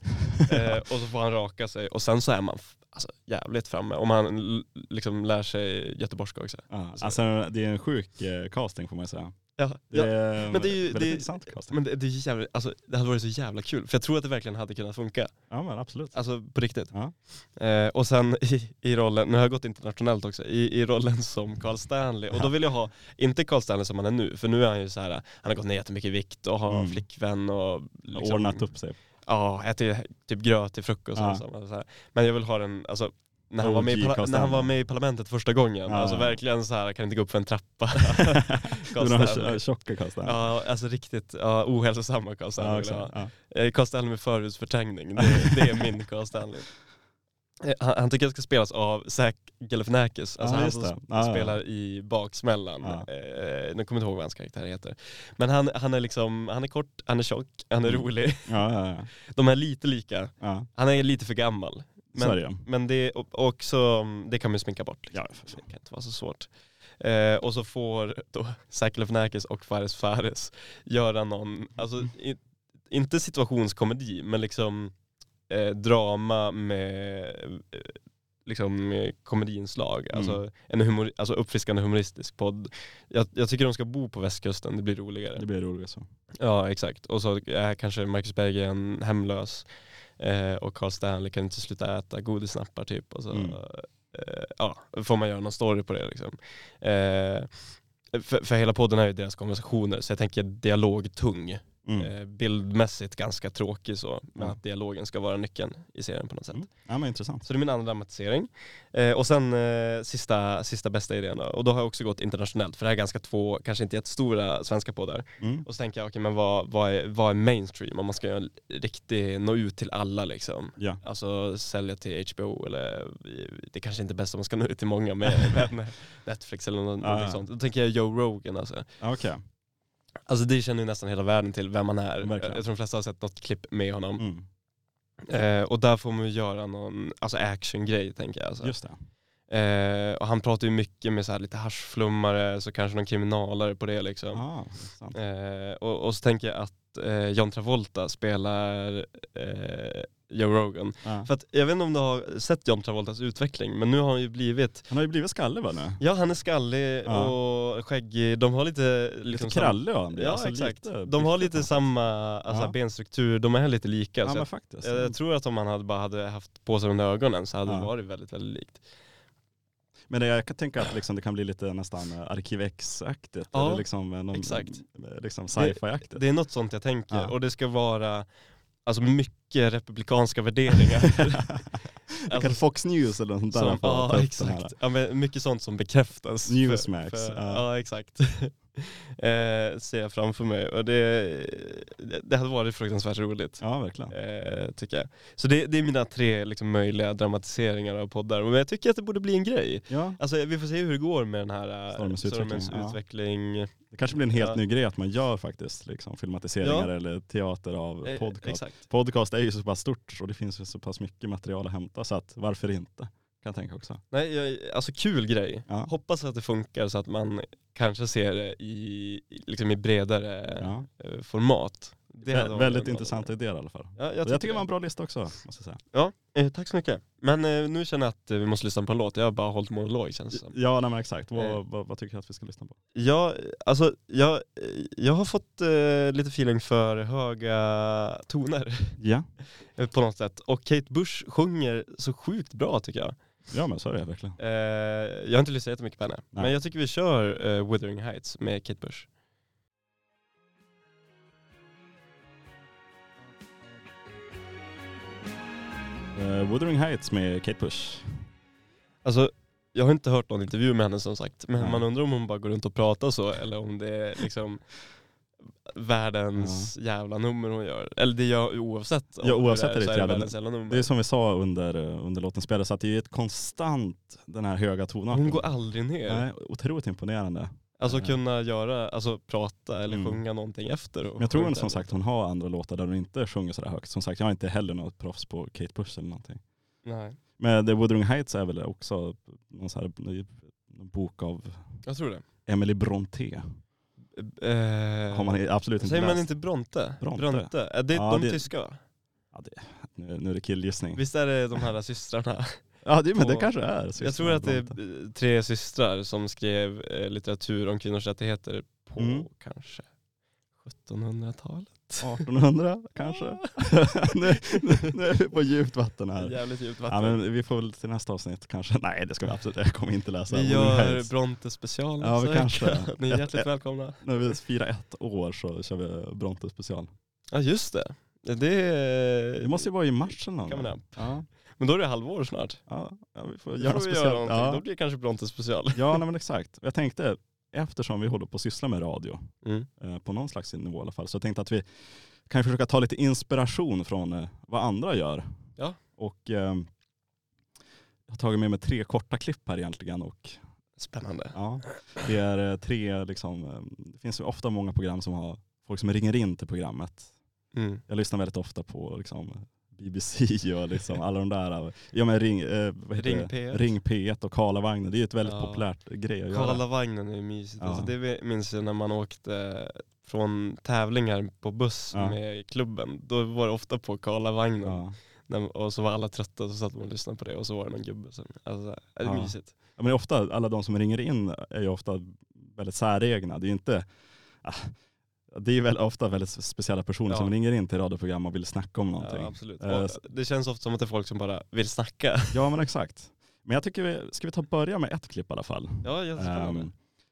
S2: Eh, och så får han raka sig och sen så är man f- alltså, jävligt framme. Om han l- liksom lär sig göteborgska också.
S1: Ja. Alltså, det är en sjuk eh, casting får man ju säga.
S2: Ja,
S1: Det
S2: ja.
S1: är en
S2: men det är ju-
S1: väldigt
S2: det är-
S1: intressant casting.
S2: Men det, det, är jävligt, alltså, det hade varit så jävla kul, för jag tror att det verkligen hade kunnat funka.
S1: Ja men absolut.
S2: Alltså på riktigt.
S1: Ja.
S2: Eh, och sen i, i rollen, nu har jag gått internationellt också, i, i rollen som Carl Stanley. Och då vill jag ha, inte Carl Stanley som han är nu, för nu är han ju så här, han har gått ner jättemycket i vikt och har
S1: Mm.
S2: flickvän och liksom,
S1: Ordnat upp sig.
S2: Ja, äter typ gröt till frukost
S1: Ja.
S2: och så, så här. Men jag vill ha den, alltså när han, var med i,
S1: OG
S2: parla-
S1: Carl
S2: när han var
S1: Stanley.
S2: med i parlamentet första gången,
S1: Ja,
S2: alltså
S1: ja.
S2: verkligen så här, kan inte gå upp för en trappa. Carl
S1: Den här
S2: Stanley.
S1: tj- Tjocka casting.
S2: Ja, alltså riktigt ja, ohälsosamma Carl Stanley
S1: ja,
S2: vill jag ha.
S1: exakt. Ja.
S2: Eh, Carl Stanley med förhudsförträngning, det, det är min Carl Stanley. Eh, Han, han tycker jag ska spelas av Zac Galifianakis, alltså
S1: Ja,
S2: han
S1: just
S2: som
S1: det.
S2: sp-
S1: Ja, ja.
S2: spelar i Baksmällan.
S1: Ja.
S2: Eh, nu kommer jag inte ihåg vad hans karaktär heter. Men han, han är liksom, han är kort, han är tjock, han är
S1: Mm.
S2: rolig.
S1: Ja, ja, ja.
S2: De är lite lika.
S1: ja.
S2: Han är lite för gammal. Men,
S1: Så är det ju.
S2: men det är o- också, det kan man ju sminka bort. Liksom.
S1: Ja, för fan.
S2: Det kan inte vara så svårt. Eh, och så får då Zac Galifianakis och Fares Fares göra någon, alltså i, inte situationskomedi, men liksom eh, drama med eh, liksom eh, komediinslag. Alltså, en humor, alltså uppfriskande humoristisk podd. Jag, jag tycker de ska bo på västkusten, det blir roligare.
S1: Det blir roligt så.
S2: Ja exakt. Och så är kanske Marcus Berggren hemlös eh, och Carl Stanley kan inte sluta äta godisnappar typ. Och så,
S1: Mm.
S2: eh, ja, får man göra någon story på det liksom. Eh, för, för hela podden är ju deras konversationer så jag tänker dialogtung.
S1: Mm.
S2: Eh, bildmässigt ganska tråkig så, men
S1: Ja.
S2: att dialogen ska vara nyckeln i serien på något sätt.
S1: Mm. Ja men intressant.
S2: Så det är min andra dramatisering. Eh, och sen eh, sista, sista bästa idén då. Och då har jag också gått internationellt för det här är ganska två, kanske inte jättestora svenska poddar.
S1: Mm.
S2: Och så tänker jag, okej men vad, vad, är, vad är mainstream? Om man ska göra en riktig, nå ut till alla liksom.
S1: Ja.
S2: Alltså sälja till HBO eller, det kanske inte är bäst om man ska nå ut till många med, med- med Netflix eller något,
S1: Ja,
S2: någonting
S1: ja.
S2: sånt. Då tänker jag Joe Rogan alltså.
S1: Ja, Okej.
S2: Alltså det känner ju nästan hela världen till vem han är.
S1: Verkligen.
S2: Jag tror de flesta har sett något klipp med honom.
S1: Mm.
S2: Eh, och där får man ju göra någon alltså actiongrej tänker jag. Alltså.
S1: Just det.
S2: Eh, och han pratar ju mycket med så här lite haschflummare, så kanske någon kriminalare på det liksom.
S1: Ah, intressant.
S2: Eh, och, och så tänker jag att eh, John Travolta spelar eh, Joe Rogan.
S1: Ja.
S2: För att, jag vet inte om du har sett John Travoltas utveckling, men nu har han ju blivit,
S1: Han har ju blivit skallig va nu?
S2: ja han är skallig
S1: Ja.
S2: och skäggig, de har lite
S1: Lite
S2: liksom,
S1: krallig har han blivit.
S2: Ja
S1: Alltså,
S2: exakt,
S1: lite
S2: de har
S1: biffigt,
S2: lite samma alltså,
S1: Ja.
S2: benstruktur, de är lite lika.
S1: Ja
S2: så
S1: men
S2: att,
S1: faktiskt.
S2: jag, jag tror att om han hade bara hade haft på sig under ögonen så hade
S1: Ja.
S2: det varit väldigt, väldigt likt.
S1: Men det, jag kan tänka att liksom, det kan bli lite nästan eh, Arkiv X-aktigt.
S2: Ja,
S1: eller liksom, eh, någon,
S2: exakt.
S1: eh, Liksom sci-fi-aktigt.
S2: Det är något sånt jag tänker
S1: Ja.
S2: och det ska vara alltså, mycket republikanska värderingar.
S1: Alltså,
S2: Alltså,
S1: Fox News eller något sånt där. får
S2: Som,
S1: ta upp
S2: ja
S1: den
S2: exakt,
S1: typ här. Alltså,
S2: ja, men mycket sånt som bekräftas.
S1: Newsmax,
S2: För, för,
S1: ja.
S2: ja. exakt. eh, ser jag framför mig. Och det, det hade varit fruktansvärt roligt.
S1: Ja, verkligen.
S2: Eh, tycker jag. Så det, det är mina tre liksom, möjliga dramatiseringar av poddar. Men jag tycker att det borde bli en grej.
S1: Ja,
S2: Alltså vi får se hur det går med den här eh,
S1: Stormens utveckling,
S2: Stormens
S1: ja.
S2: utveckling.
S1: det kanske blir en helt
S2: Ja.
S1: ny grej att man gör faktiskt liksom, filmatiseringar eller teater av
S2: Eh,
S1: podcast.
S2: Exakt.
S1: Podcast är ju så pass stort och det finns ju så pass mycket material att hämta så att varför inte? Kan jag tänka också.
S2: Nej, jag, alltså kul grej.
S1: Ja.
S2: Hoppas att det funkar så att man kanske ser det i, liksom i bredare
S1: Ja.
S2: eh, format. Det hade
S1: Vä-
S2: varit
S1: väldigt
S2: en-
S1: intressanta idéer i alla fall.
S2: Ja, jag,
S1: Jag,
S2: tycker
S1: tycker det var
S2: det.
S1: en bra lista också, måste jag säga.
S2: Eh, tack så mycket. Men eh, nu känner jag att eh, vi måste lyssna på en låt. Jag har bara hållit monolog känns det som.
S1: Ja, nej, men exakt. Vad,
S2: Alltså. Eh.
S1: vad, vad tycker du att vi ska lyssna på?
S2: Jag, alltså, jag, eh, jag har fått eh, lite feeling för höga toner
S1: Ja,
S2: eh, på något sätt. Och Kate Bush sjunger så sjukt bra tycker jag.
S1: ja men så är det verkligen.
S2: Eh, jag har inte lyssnat jättemycket på henne.
S1: Nej.
S2: Men jag tycker vi kör eh, Wuthering Heights med Kate Bush.
S1: Uh, Wuthering Heights med Kate Bush.
S2: Alltså, jag har inte hört någon intervju med henne som sagt, men
S1: Nej.
S2: man undrar om hon bara går runt och pratar så eller om det är liksom världens jävla nummer hon gör. Eller det gör oavsett. om
S1: Ja,
S2: hon
S1: oavsett
S2: är
S1: är det
S2: så
S1: ett
S2: är det
S1: jävla-
S2: världens jävla nummer.
S1: Det är som vi sa under, eh, under låten spelades, att det är ett konstant, den här höga tonarten.
S2: Hon går aldrig ner.
S1: Nej, otroligt imponerande.
S2: Alltså
S1: Nej.
S2: kunna göra, alltså prata eller
S1: Mm.
S2: sjunga någonting efter. och
S1: Men jag tror hon,
S2: sjunga.
S1: som sagt hon har andra låtar där hon inte sjunger sådär högt. Som sagt, jag är inte heller något proffs på Kate Bush eller någonting.
S2: Nej,
S1: Men The Wuthering Heights är väl också någon så här eh, bok av
S2: jag tror det.
S1: Emily Brontë.
S2: Eh,
S1: Har man absolut inte
S2: Säger man
S1: läst.
S2: inte Bronte?
S1: Bronte.
S2: Är det
S1: Ja,
S2: de
S1: det- Mm.
S2: tyska va?
S1: Nu, nu är det killgissning.
S2: Visst är det de här systrarna?
S1: Ja det, men det
S2: på-
S1: kanske är.
S2: Jag
S1: systrarna
S2: tror att det
S1: Brontë.
S2: är eh, tre systrar som skrev eh, litteratur om kvinnors rättigheter på
S1: Mm.
S2: kanske 1700-talet.
S1: 1800 kanske. nu, nu, nu är vi på djupt vatten här.
S2: Jävligt djupt
S1: Ja,
S2: vatten.
S1: men vi får väl till nästa avsnitt kanske. Nej det ska vi absolut Jag kommer inte läsa.
S2: vi
S1: Wuthering
S2: gör
S1: Heights.
S2: Bronte special
S1: alltså, Ja, vi kanske.
S2: nästa vecka. Ni är
S1: Ett-
S2: hjärtligt
S1: ett-
S2: välkomna.
S1: När vi firar ett år så kör vi Bronte special.
S2: Ja just det. Det är...
S1: Det måste ju vara i mars eller något.
S2: Coming up.
S1: Ja,
S2: Men då är det halvår snart.
S1: ja, ja, vi får
S2: Då
S1: göra
S2: får
S1: något
S2: vi göra
S1: speciellt.
S2: någonting. Då
S1: Ja,
S2: blir det kanske Bronte special.
S1: ja nej, men exakt. Jag tänkte, eftersom vi håller på att syssla med radio,
S2: Mm.
S1: eh, på någon slags nivå i alla fall, så jag tänkte att vi kan försöka ta lite inspiration från eh, vad andra gör.
S2: Ja.
S1: Och ehm, jag har tagit med mig tre korta klipp här egentligen. Och,
S2: Spännande.
S1: ja, det är eh, tre, liksom, eh, det finns ju ofta många program som har folk som ringer in till programmet
S2: Mm.
S1: jag lyssnar väldigt ofta på liksom, BBC och liksom, alla de där, ja men ring, eh, vad heter
S2: Ring
S1: det?
S2: P1.
S1: ring P1 och Karlavagnen, det är ju ett väldigt
S2: Ja.
S1: populärt grej att göra.
S2: Karlavagnen är ju mysigt.
S1: Ja.
S2: Alltså det minns jag när man åkte från tävlingar på buss
S1: Ja.
S2: med klubben. Då var det ofta på Karlavagnen.
S1: Ja.
S2: När, och så var alla trötta och så satt man och lyssnade på det och så var det någon gubbe som, alltså, är det
S1: Ja.
S2: mysigt?
S1: Ja, men det är ofta, alla de som ringer in är ju ofta väldigt säregna, det är ju inte ah, det är ju väl ofta väldigt speciella personer
S2: Ja.
S1: som ringer in till radioprogram och vill snacka om någonting.
S2: Ja,
S1: Ja,
S2: absolut.
S1: Eh,
S2: Och
S1: s-
S2: det känns ofta som att det är folk som bara vill snacka.
S1: men exakt. Men jag tycker vi, ska vi ta börja med ett klipp i alla fall?
S2: Ja, jättespännande.
S1: Ehm,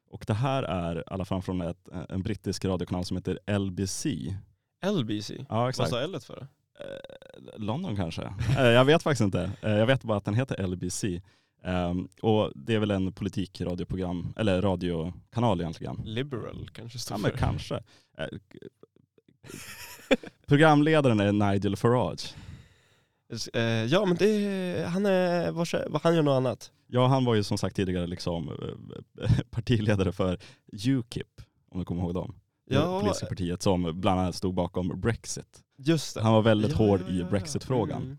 S1: och det här är i alla fall från ett, en brittisk radiokanal som heter LBC.
S2: LBC,
S1: Ja,
S2: vad
S1: exakt.
S2: sa L för?
S1: London kanske? Eh, jag vet faktiskt inte. Eh, jag vet bara att den heter LBC. Ehm, och det är väl en politikradioprogram, eller radiokanal egentligen.
S2: Liberal kanske
S1: Ja
S2: stod
S1: men
S2: för.
S1: kanske. Eh, programledaren är Nigel Farage.
S2: Eh, ja men det, är- han är, vars, han gör något annat.
S1: Ja han var ju som sagt tidigare liksom eh, partiledare för Ukip, om du kommer ihåg dem. Det
S2: Ja,
S1: politiska partiet som bland annat stod bakom Brexit.
S2: just det.
S1: Han var väldigt
S2: ja,
S1: hård
S2: ja,
S1: i
S2: ja, ja.
S1: Brexit-frågan.
S2: Mm.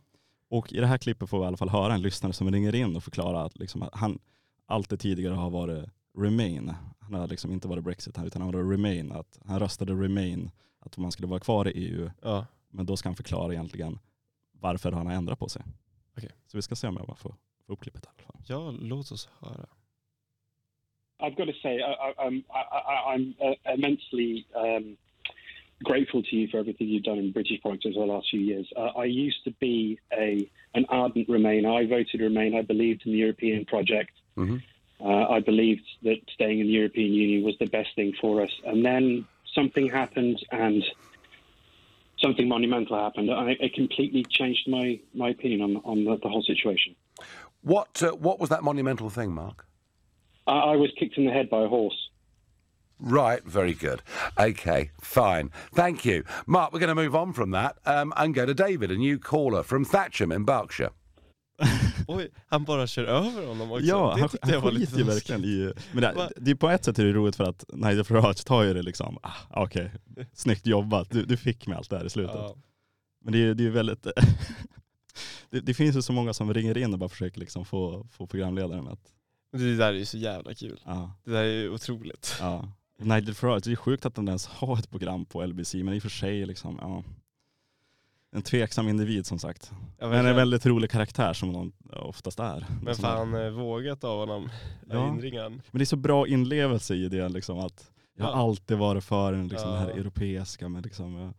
S1: Och i det här klippet får vi i alla fall höra en lyssnare som ringer in och förklarar att, liksom, att han alltid tidigare har varit remain. Han har liksom inte varit brexit här utan han var remain. Att han röstade remain, att man skulle vara kvar i EU.
S2: Ja.
S1: Men då ska han förklara egentligen varför han har ändrat på sig.
S2: Okej.
S1: Så vi ska se om jag bara får, får upp klippet i alla fall.
S2: ja, låt oss höra.
S3: I've got to say, I, I, I'm, I, I, I'm uh, immensely um, grateful to you for everything you've done in British politics over the last few years. Uh, I used to be a an ardent Remainer. I voted Remain. I believed in the European project.
S4: Mhm.
S3: Uh, I believed that staying in the European Union was the best thing for us. And then something happened, and something monumental happened. I, it completely changed my, my opinion on, on the, the whole situation.
S4: What uh, what was that monumental thing, Mark?
S3: I, I was kicked in the head by a horse.
S4: Right, very good. Okay, fine. Thank you. Mark, we're going to move on from that um, and go to David, a new caller from Thatcham in Berkshire.
S2: Oj, han bara kör över honom också.
S1: Ja,
S2: det
S1: han,
S2: tyckte jag
S1: han
S2: var
S1: skiter ju
S2: lite
S1: verkligen i... Men
S2: Va?
S1: det, det, är på ett sätt är det roligt för att Nigel Farage tar ju det liksom, ah, okej, snyggt jobbat, du, du fick med allt det här i slutet.
S2: Ja.
S1: Men det är ju det är ju väldigt... det, det finns ju så många som ringer in och bara försöker liksom få, få programledaren att...
S2: Det där är ju så jävla kul.
S1: Ja,
S2: Det där är ju otroligt.
S1: ja. Och Nigel Farage, det är sjukt att han ens har ett program på LBC, men i och för sig liksom, ja. En tveksam individ som sagt.
S2: Ja,
S1: Men en
S2: fan-
S1: väldigt rolig karaktär som de oftast är.
S2: men
S1: Som-
S2: fan eh, vågat av honom, eh,
S1: Ja.
S2: ja. inringaren.
S1: Men det är så bra inlevelse i det liksom att jag har
S2: Ja.
S1: alltid varit för den liksom, det här
S2: Ja.
S1: europeiska men liksom jag,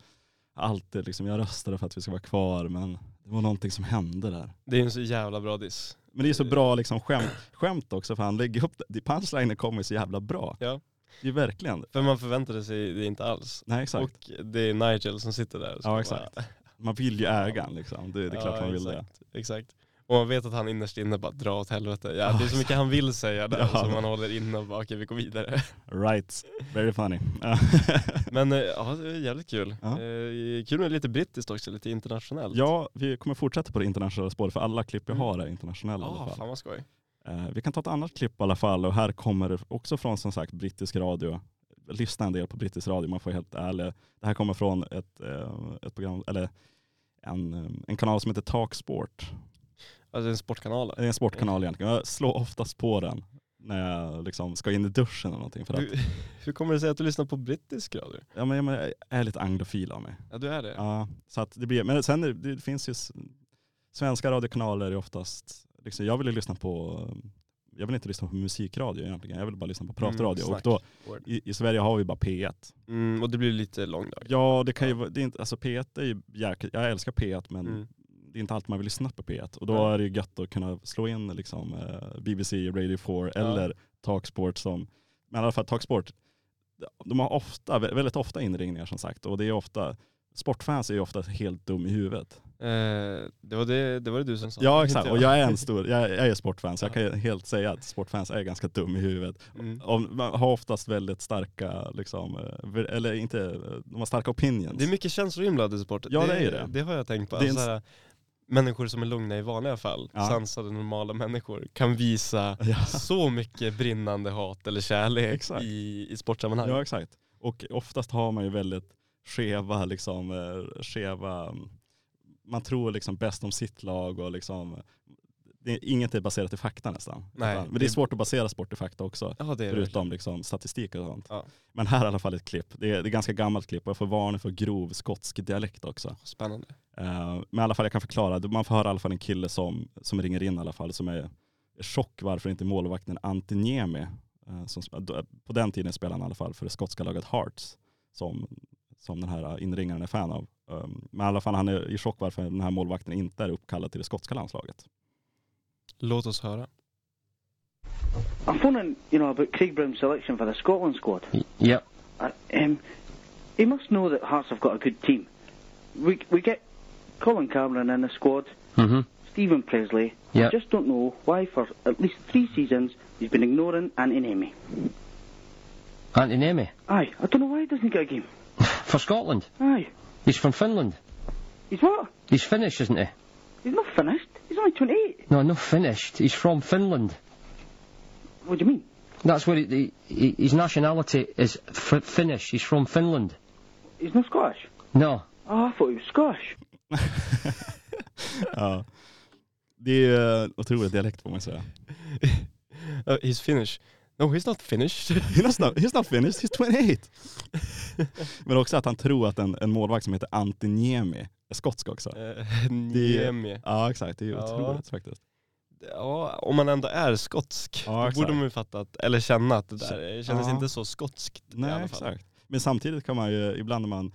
S1: alltid liksom, jag röstade för att vi ska vara kvar men det var någonting som hände där.
S2: Det är ju en så jävla bra diss.
S1: Men det är så bra liksom skämt, skämt också för han lägger upp, det- punchlinen kommer så jävla bra.
S2: Ja.
S1: Det är verkligen,
S2: För man förväntade sig det inte alls.
S1: nej exakt.
S2: Och det är Nigel som sitter där. och ska
S1: Ja, exakt.
S2: bara-
S1: man vill ju äga den liksom, det, det är klart
S2: Ja,
S1: man vill det.
S2: exakt, Exakt. Och man vet att han innerst inne bara drar åt helvete. Ja,
S1: Ja,
S2: det är så mycket han vill säga där
S1: Ja.
S2: som han håller inne och bara okej vi går vidare.
S1: Right, very funny.
S2: Men eh, ja, det är jävligt kul.
S1: Ja.
S2: Eh, Kul med lite brittiskt också, lite internationellt.
S1: ja, vi kommer fortsätta på det internationella spåret för alla klipp jag
S2: Mm.
S1: har är internationella i alla
S2: ah,
S1: fall.
S2: fan vad skoj.
S1: Eh, vi kan ta ett annat klipp i alla fall och här kommer det också från som sagt brittisk radio. Lyssna en del på brittisk radio, man får vara helt ärlig. Det här kommer från ett, eh, ett program, eller en, eh, en kanal som heter Talksport.
S2: Alltså en sportkanal.
S1: Det är en sportkanal egentligen. Jag slår oftast på den när jag liksom ska in i duschen eller någonting. För att,
S2: Du, hur kommer det sig att du lyssnar på brittisk radio?
S1: ja, men, jag är lite anglofil av mig.
S2: Ja du är det.
S1: Ja, så att det blir, men sen är, det finns ju s- svenska radiokanaler är oftast, liksom, jag vill ju lyssna på, jag vill inte lyssna på musikradio egentligen, jag vill bara lyssna på pratradio.
S2: Mm,
S1: och då,
S2: Word.
S1: i, I Sverige har vi bara P1.
S2: Mm, och det blir lite lång dag.
S1: Ja, det kan ju vara, det är inte, alltså P1 är ju jäkligt, jag älskar P1 men
S2: Mm.
S1: det är inte alltid man vill lyssna på P1. Och då
S2: Ja.
S1: är det ju gött att kunna slå in liksom, eh, BBC, Radio 4 eller Talksport som, men i alla fall Talksport, de har ofta, vä- väldigt ofta inringningar som sagt och det är ofta, sportfans är ju ofta helt dum i huvudet.
S2: Eh, det, var det, det var det du som sa.
S1: Ja
S2: Inte
S1: exakt, och jag är en stor, jag, jag är sportfan så jag kan
S2: Ja.
S1: ju helt säga att sportfans är ganska dum i huvudet.
S2: Mm.
S1: Om- Man har oftast väldigt starka, liksom, eh, eller inte, eh, de har starka opinions.
S2: Det är mycket känslor inblandade i sport.
S1: Ja, det är ju det.
S2: Det har jag tänkt på.
S1: Det är en-
S2: Alltså, så här, människor som är lugna i vanliga fall,
S1: Ja.
S2: sansade normala människor, kan visa
S1: Ja.
S2: så mycket brinnande hat eller kärlek
S1: Exakt.
S2: i, i sportsammanhang.
S1: ja exakt. Och oftast har man ju väldigt skeva, liksom, eh, skeva, mm, man tror liksom bäst om sitt lag och liksom, det är, inget är baserat i fakta nästan.
S2: Nej,
S1: Utan- men det
S2: det-
S1: är svårt att basera sport i fakta också.
S2: Ja, det är det.
S1: Förutom liksom statistik och sånt.
S2: Ja.
S1: Men här är i alla fall ett klipp. Det är, det är ganska gammalt klipp och jag får varning för grov skotsk dialekt också.
S2: Spännande.
S1: Eh, men i alla fall, jag kan förklara. Man får höra i alla fall en kille som, som ringer in i alla fall, som är i chock varför inte målvakten Antti Niemi, eh, som, sp- då- på den tiden spelade han i alla fall för det skotska laget Hearts, som, som den här inringaren är fan av. Eh, men i alla fall, han är i chock varför den här målvakten inte är uppkallad till det skotska landslaget.
S2: Låt oss höra.
S5: I'm phoning, you know, about Craig Brown's selection for the Scotland squad.
S6: Yep.
S5: I, um, he must know that Hearts have got a good team. We we get Colin Cameron in the squad,
S6: Mm-hmm.
S5: Stephen Presley.
S6: Yeah.
S5: Just don't know why for at least three seasons he's been ignoring Anthony Nemi.
S6: Auntie Nemi.
S5: Aye, I don't know why he doesn't get a game.
S6: For Scotland.
S5: Aye,
S6: He's from Finland.
S5: he's what?
S6: He's Finnish, isn't he?
S5: He's not finished. He's only 28.
S6: No, not finished. He's from Finland.
S5: What do you mean?
S6: That's where he, he, his nationality is f- Finnish. He's from Finland.
S5: He's not Scottish.
S6: No.
S5: Oh, I thought he was Scottish.
S1: ja. Det är eh, otrolig dialekt får man säga.
S2: Uh, he's Finnish. No, he's not finished.
S1: He's not, he's not finished, he's 28. Men också att han tror att en, en målvakt som heter Antti Niemi är skotsk också.
S2: Eh,
S1: Det-
S2: Niemi.
S1: Ja exakt, det är ju
S2: Ja.
S1: otroligt faktiskt.
S2: Ja, om man ändå är skotsk,
S1: Ja,
S2: då
S1: exakt.
S2: borde man ju fatta att, eller känna att det där det kändes
S1: Ja.
S2: inte så skotskt i
S1: Nej
S2: alla fall.
S1: exakt. Men samtidigt kan man ju, ibland när man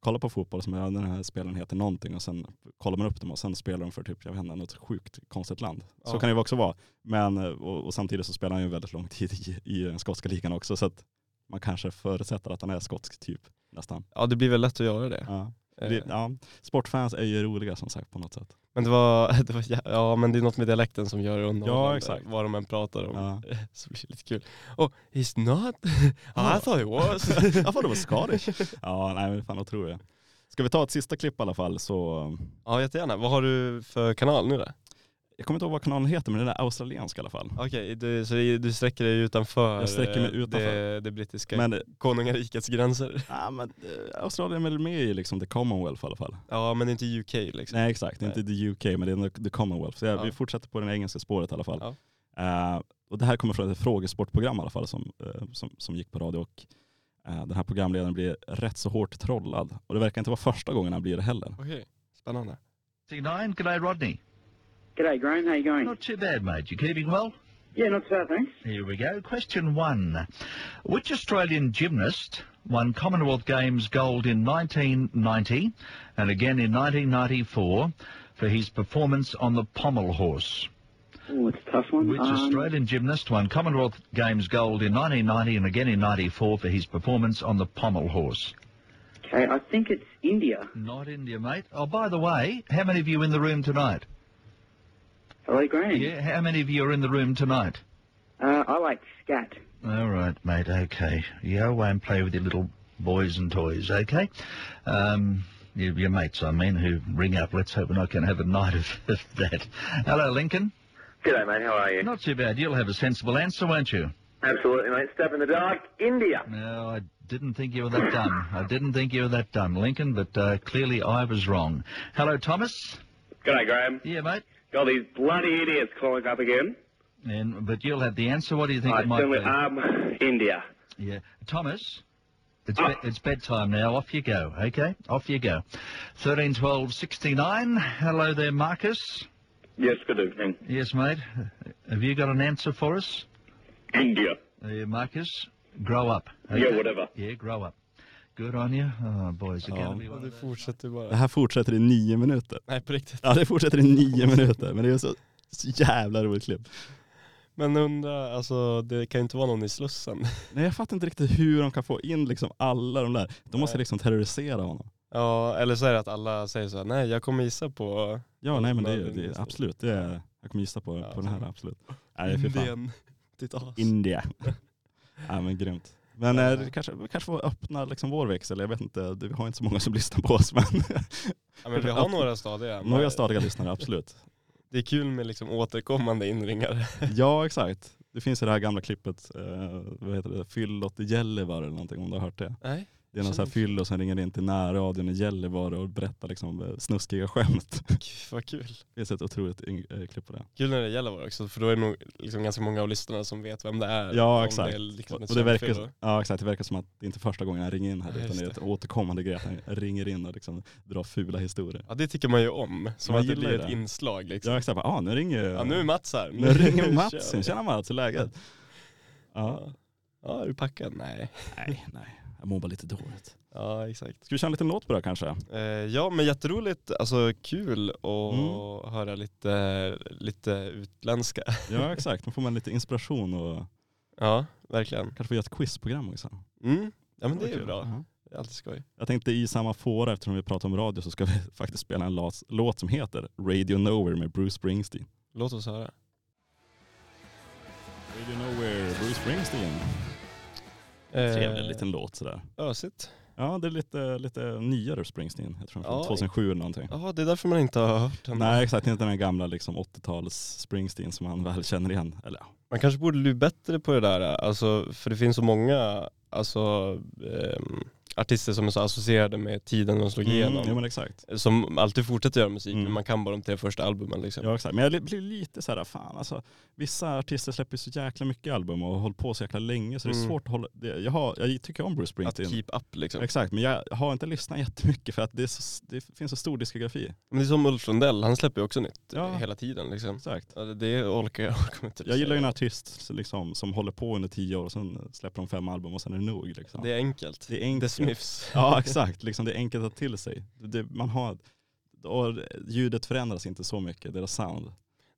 S1: kollar på fotboll, som ja, den här spelaren heter någonting och sen kollar man upp dem och sen spelar de för typ, jag vet inte, något sjukt konstigt land. Så
S2: Ja.
S1: kan det ju också vara. Men, eh, och, och samtidigt så spelar han ju väldigt lång tid i, i den skotska ligan också så att man kanske förutsätter att han är skotsk typ nästan.
S2: Ja, det blir väl lätt att göra det.
S1: Ja.
S2: Eh,
S1: Det, ja. Sportfans är ju roliga som sagt på något sätt.
S2: Men det var, det var, jä- ja men det är något med dialekten som gör det underhållande.
S1: Ja, exakt.
S2: Vad de än pratar om.
S1: Ja.
S2: Så blir det lite kul. Oh, he's not? I thought he was.
S1: Jag får det var Scottish. Ja, nej men fan vad tror jag. Ska vi ta ett sista klipp i alla fall så,
S2: ja jättegärna. Vad har du för kanal nu då?
S1: jag kommer inte ihåg vad kanalen heter men den är australiensk i alla fall.
S2: Okej, du, så du sträcker dig utanför,
S1: Jag sträcker mig
S2: eh,
S1: utanför.
S2: Det, det brittiska
S1: Men,
S2: konungarikets gränser?
S1: ja, men eh, Australien är väl med i liksom the Commonwealth i alla fall.
S2: Ja men det är inte UK liksom.
S1: Nej exakt, det är inte the UK men det är ändå the Commonwealth. Så ja,
S2: Ja.
S1: vi fortsätter på det engelska spåret i alla fall.
S2: Ja.
S1: Eh, och det här kommer från ett frågesportprogram i alla fall som, eh, som, som gick på radio och eh, den här programledaren blir rätt så hårt trollad. Och det verkar inte vara första gången han blir det heller.
S2: Okej, spännande.
S7: 69. G'day, Rodney.
S5: G'day, Graham. How you going?
S7: Not too bad, mate. You keeping well?
S5: yeah, not so bad, thanks.
S7: Here we go. Question one. Which Australian gymnast won Commonwealth Games gold in 1990 and again in 1994 for his performance on the pommel horse?
S5: Oh, it's a tough one.
S7: Which
S5: Um,
S7: Australian gymnast won Commonwealth Games gold in 1990 and again in 94 for his performance on the pommel horse?
S5: Okay, I think it's India.
S7: Not India, mate. Oh, by the way, how many of you in the room tonight?
S5: Hello, Graham.
S7: Yeah, how many of you are in the room tonight?
S5: Uh, I like scat.
S7: All right, mate. Okay. You go away and play with your little boys and toys, okay? Um, your, your mates, I mean, who ring up. Let's hope we're not going to have a night of, of that. Hello, Lincoln.
S8: G'day, mate. How are you?
S7: Not too bad. You'll have a sensible answer, won't you?
S8: Absolutely, mate. Stab in the dark. India.
S7: No, I didn't think you were that dumb. I didn't think you were that dumb, Lincoln, but uh, clearly I was wrong. Hello, Thomas.
S8: G'day, Graham.
S7: Yeah, mate.
S8: Got these bloody idiots calling up again.
S7: And, but you'll have the answer. What do you think
S8: I
S7: it might be?
S8: certainly um, India.
S7: Yeah, Thomas. It's,
S8: Ah.
S7: be- it's bedtime now. Off you go. Okay, off you go. Thirteen, twelve, sixty-nine. Hello there, Marcus.
S8: Yes, good evening.
S7: Yes, mate. Have you got an answer for us,
S8: India.
S7: uh, Marcus? Grow up.
S8: Yeah, whatever.
S7: Yeah, grow up. Good on you. Oh, boys, it's gonna be one
S2: Ja,
S7: of
S2: du
S7: those-
S2: fortsätter
S1: Det
S2: bara.
S1: här fortsätter i nio minuter.
S2: Nej på riktigt.
S1: Ja det fortsätter i nio minuter men det är så, så jävla roligt klipp.
S2: Men undra, alltså det kan ju inte vara någon i Slussen.
S1: Nej jag fattar inte riktigt hur de kan få in liksom alla de där. De måste liksom terrorisera honom.
S2: Ja, eller så är det att alla säger så här, nej jag kommer gissa på
S1: Ja nej men det är,
S2: Ja,
S1: det
S2: just
S1: är
S2: det.
S1: absolut, det är, jag kommer gissa på,
S2: Ja,
S1: på den här absolut. Nej fy fan.
S2: Indien. Ditt as.
S1: India. ja men grymt. Men eh,
S2: Ja.
S1: det kanske, vi kanske får öppna liksom vår växel, jag vet inte, det- vi har inte så många som lyssnar på oss men
S2: ja, men vi har några stadiga.
S1: Alltså, några stadiga lyssnare absolut.
S2: Det är kul med liksom återkommande inringare.
S1: Ja exakt. Det finns ju det här gamla klippet, eh, vad heter det, Fyllot i Gällivare eller någonting om du har hört det.
S2: Nej.
S1: Det är någon sån här fyllo som ringer in till närradion i Gällivare och berättar liksom eh, snuskiga skämt.
S2: Gud, vad kul.
S1: Det finns ett otroligt in- eh, klipp på det.
S2: Kul när det gäller var också, för då är det nog liksom ganska många av lyssnarna som vet vem det är.
S1: Ja
S2: Om
S1: exakt.
S2: Det är liksom ett
S1: och det verkar,
S2: kändfyllo.
S1: ja, exakt. Det verkar som att det inte är första gången han ringer in här
S2: Ja,
S1: utan
S2: just
S1: det är
S2: det.
S1: ett återkommande grej att han ringer in och liksom drar fula historier.
S2: Ja det tycker man ju om, som
S1: Man
S2: att det
S1: gillar
S2: blir
S1: det.
S2: ett inslag liksom.
S1: Ja exakt, bara, ah, nu ringer
S2: Ja nu är Mats här.
S1: nu ringer Mats
S2: Kör.
S1: in. Tjena Mats, hur är läget? Ja,
S2: Ja. ja, är du packad? Nej.
S1: nej, nej. Jag mår bara lite dåligt.
S2: Ja exakt.
S1: Ska vi köra en liten låt på det här kanske?
S2: Eh, ja men jätteroligt, alltså kul att
S1: Mm.
S2: höra lite, lite utländska.
S1: Ja exakt, då får man lite inspiration och
S2: Ja, verkligen.
S1: kanske får göra ett quizprogram också.
S2: Mm. Ja men det är ju
S1: Kul.
S2: bra,
S1: Ja.
S2: det är alltid skoj.
S1: Jag tänkte i samma fåra, eftersom vi pratar om radio, så ska vi faktiskt spela en låt, låt som heter Radio Nowhere med Bruce Springsteen.
S2: Låt oss höra.
S1: Radio Nowhere, Bruce Springsteen. Trevlig liten låt sådär.
S2: Eh, Ösigt.
S1: Eh. Ja, det är lite, lite nyare Springsteen. Jag tror den är från
S2: Ja.
S1: 2007 eller någonting.
S2: Ja det är därför man inte har hört den.
S1: Nej exakt, inte den här gamla liksom 80-tals Springsteen som man väl känner igen. Eller ja.
S2: Man kanske borde bli bättre på det där, alltså, för det finns så många alltså, ehm, artister som är så associerade med tiden de slog igenom.
S1: ja Mm, men exakt.
S2: Som alltid fortsätter göra musik,
S1: Mm.
S2: men man kan bara de tre första albumen liksom.
S1: Ja exakt, men jag li- blir lite så här, fan alltså vissa artister släpper ju så jäkla mycket album och har hållit på så jäkla länge så det är
S2: Mm.
S1: svårt att hålla, det, jag, har, jag tycker om Bruce
S2: Att
S1: Springsteen.
S2: keep up liksom.
S1: Exakt, men jag har inte lyssnat jättemycket för att det, är så, det finns så stor diskografi.
S2: Men det är som Ulf Lundell, han släpper ju också nytt
S1: Ja.
S2: hela tiden liksom.
S1: Exakt.
S2: Ja, det- Det orkar jag, orkar inte.
S1: Jag gillar ju en
S2: säga.
S1: artist som liksom, som håller på under tio år och sen släpper de fem album och sen är det nog. Liksom.
S2: Det är enkelt.
S1: Det är enkelt.
S2: The Smiths.
S1: Ja exakt, liksom, det är enkelt att ta till sig. Det, man har, och ljudet förändras inte så mycket, deras sound.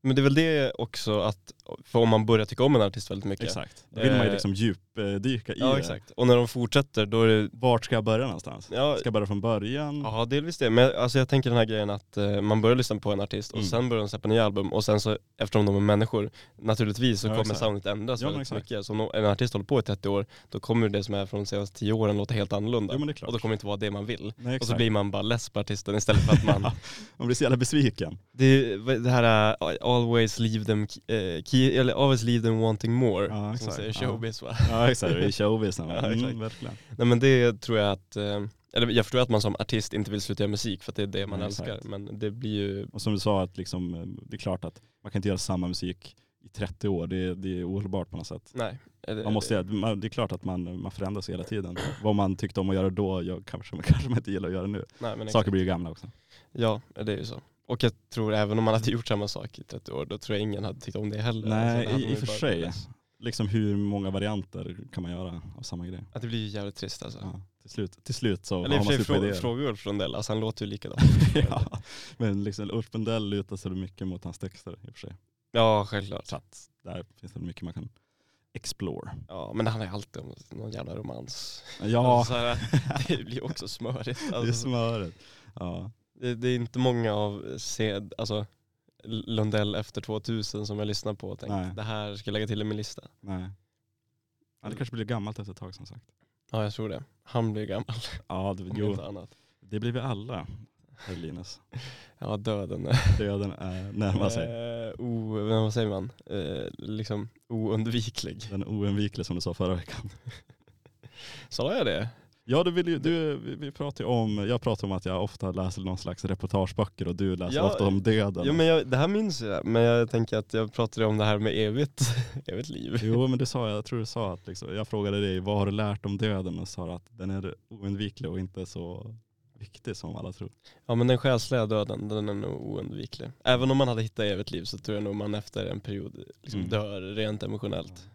S2: Men det är väl det också att, för om man börjar tycka om en artist väldigt mycket,
S1: Exakt. Då vill man ju
S2: Eh,
S1: liksom djup, djupdyka i
S2: Ja
S1: det.
S2: exakt. Och när de fortsätter då är det,
S1: Vart ska jag börja någonstans?
S2: ja,
S1: Ska jag börja från början?
S2: ja delvis det. Men jag- alltså jag tänker den här grejen att eh, man börjar lyssna på en artist och
S1: Mm.
S2: sen börjar de släppa nya album och sen så eftersom de är människor naturligtvis så
S1: Ja,
S2: kommer
S1: exakt.
S2: soundet ändras
S1: Ja, men
S2: väldigt
S1: exakt.
S2: mycket. Så om no- en artist håller på i 30 år då kommer det som är från de senaste 10 åren låta helt annorlunda.
S1: Jo, men det är klart.
S2: Och då kommer det inte vara det man vill.
S1: Nej,
S2: Och
S1: exakt.
S2: så blir man bara less på artisten istället för att man
S1: Man blir så jävla besviken.
S2: Det, är det här uh, always leave them, eh, key, eller always leave them wanting more,
S1: Ja,
S2: som
S1: exakt.
S2: säger
S1: Ja.
S2: showbiz va?
S1: Ja exakt, i showbiz.
S2: Ja,
S1: mm,
S2: exakt.
S1: verkligen.
S2: Nej men det tror jag att, eh, eller jag förstår att man som artist inte vill sluta göra musik för att det är det man
S1: Nej,
S2: älskar,
S1: exakt.
S2: men det blir ju,
S1: Och som du sa, att liksom, eh, det är klart att man kan inte göra samma musik i 30 år. Det, det är ohållbart på något sätt.
S2: nej. Eller-
S1: Man måste, göra- man- det är klart att man, man förändras hela tiden. Vad man tyckte om att göra då, jag kanske, kanske man inte gillar att göra nu.
S2: nej, men
S1: Saker
S2: exakt.
S1: blir ju gamla också.
S2: Ja, det är ju så. Och jag tror även om man hade gjort samma sak i 30 år, då tror jag ingen hade tyckt om det heller.
S1: Nej,
S2: Alltså, då hade
S1: i-
S2: man
S1: i
S2: ju
S1: och för sig.
S2: bara-
S1: Liksom hur många varianter kan man göra av samma grej?
S2: Att det blir ju jävligt trist alltså.
S1: Ja, till, slut, till slut så
S2: Eller i
S1: har
S2: och
S1: man
S2: för sig,
S1: slut på
S2: frå-
S1: idéer.
S2: fråga Ulf Lundell, alltså han låter ju likadan.
S1: ja, men liksom Ulf Lundell lutar sig mycket mot hans texter i och för sig.
S2: ja, självklart.
S1: Så att där finns det mycket man kan explore.
S2: Ja, men han är alltid om någon jävla romans.
S1: Ja,
S2: Alltså, så här, det blir också smörigt.
S1: det är
S2: Alltså,
S1: smöret. Ja,
S2: det, det är inte många av sed, alltså, Lundell efter 2000 som jag lyssnar på och
S1: Nej.
S2: tänkt det här ska jag lägga till i min lista.
S1: nej. Ja, det kanske blir gammalt efter ett tag som sagt.
S2: Ja jag tror det. Han blir gammal
S1: Ja, det,
S2: om
S1: jo,
S2: inte annat.
S1: det blir vi alla, herr Linus.
S2: Ja döden
S1: Döden är närmar sig.
S2: Eh, o, men vad säger man? Eh, liksom oundviklig.
S1: Den oundvikliga som du sa förra veckan.
S2: Sa jag det?
S1: Ja, du vill ju, du, vi- vi pratar ju om, jag pratar om att jag ofta läser någon slags reportageböcker och du läser
S2: Ja,
S1: ofta om döden.
S2: Jo men jag, det här minns jag, men jag tänker att jag pratade om det här med evigt, evigt liv.
S1: Jo men det sa jag, jag tror du sa att liksom, jag frågade dig vad har du lärt om döden och sa att den är oundviklig och inte så viktig som alla tror.
S2: Ja men den själsliga döden, den är nog oundviklig. Även om man hade hittat evigt liv så tror jag nog man efter en period liksom
S1: Mm.
S2: dör rent emotionellt.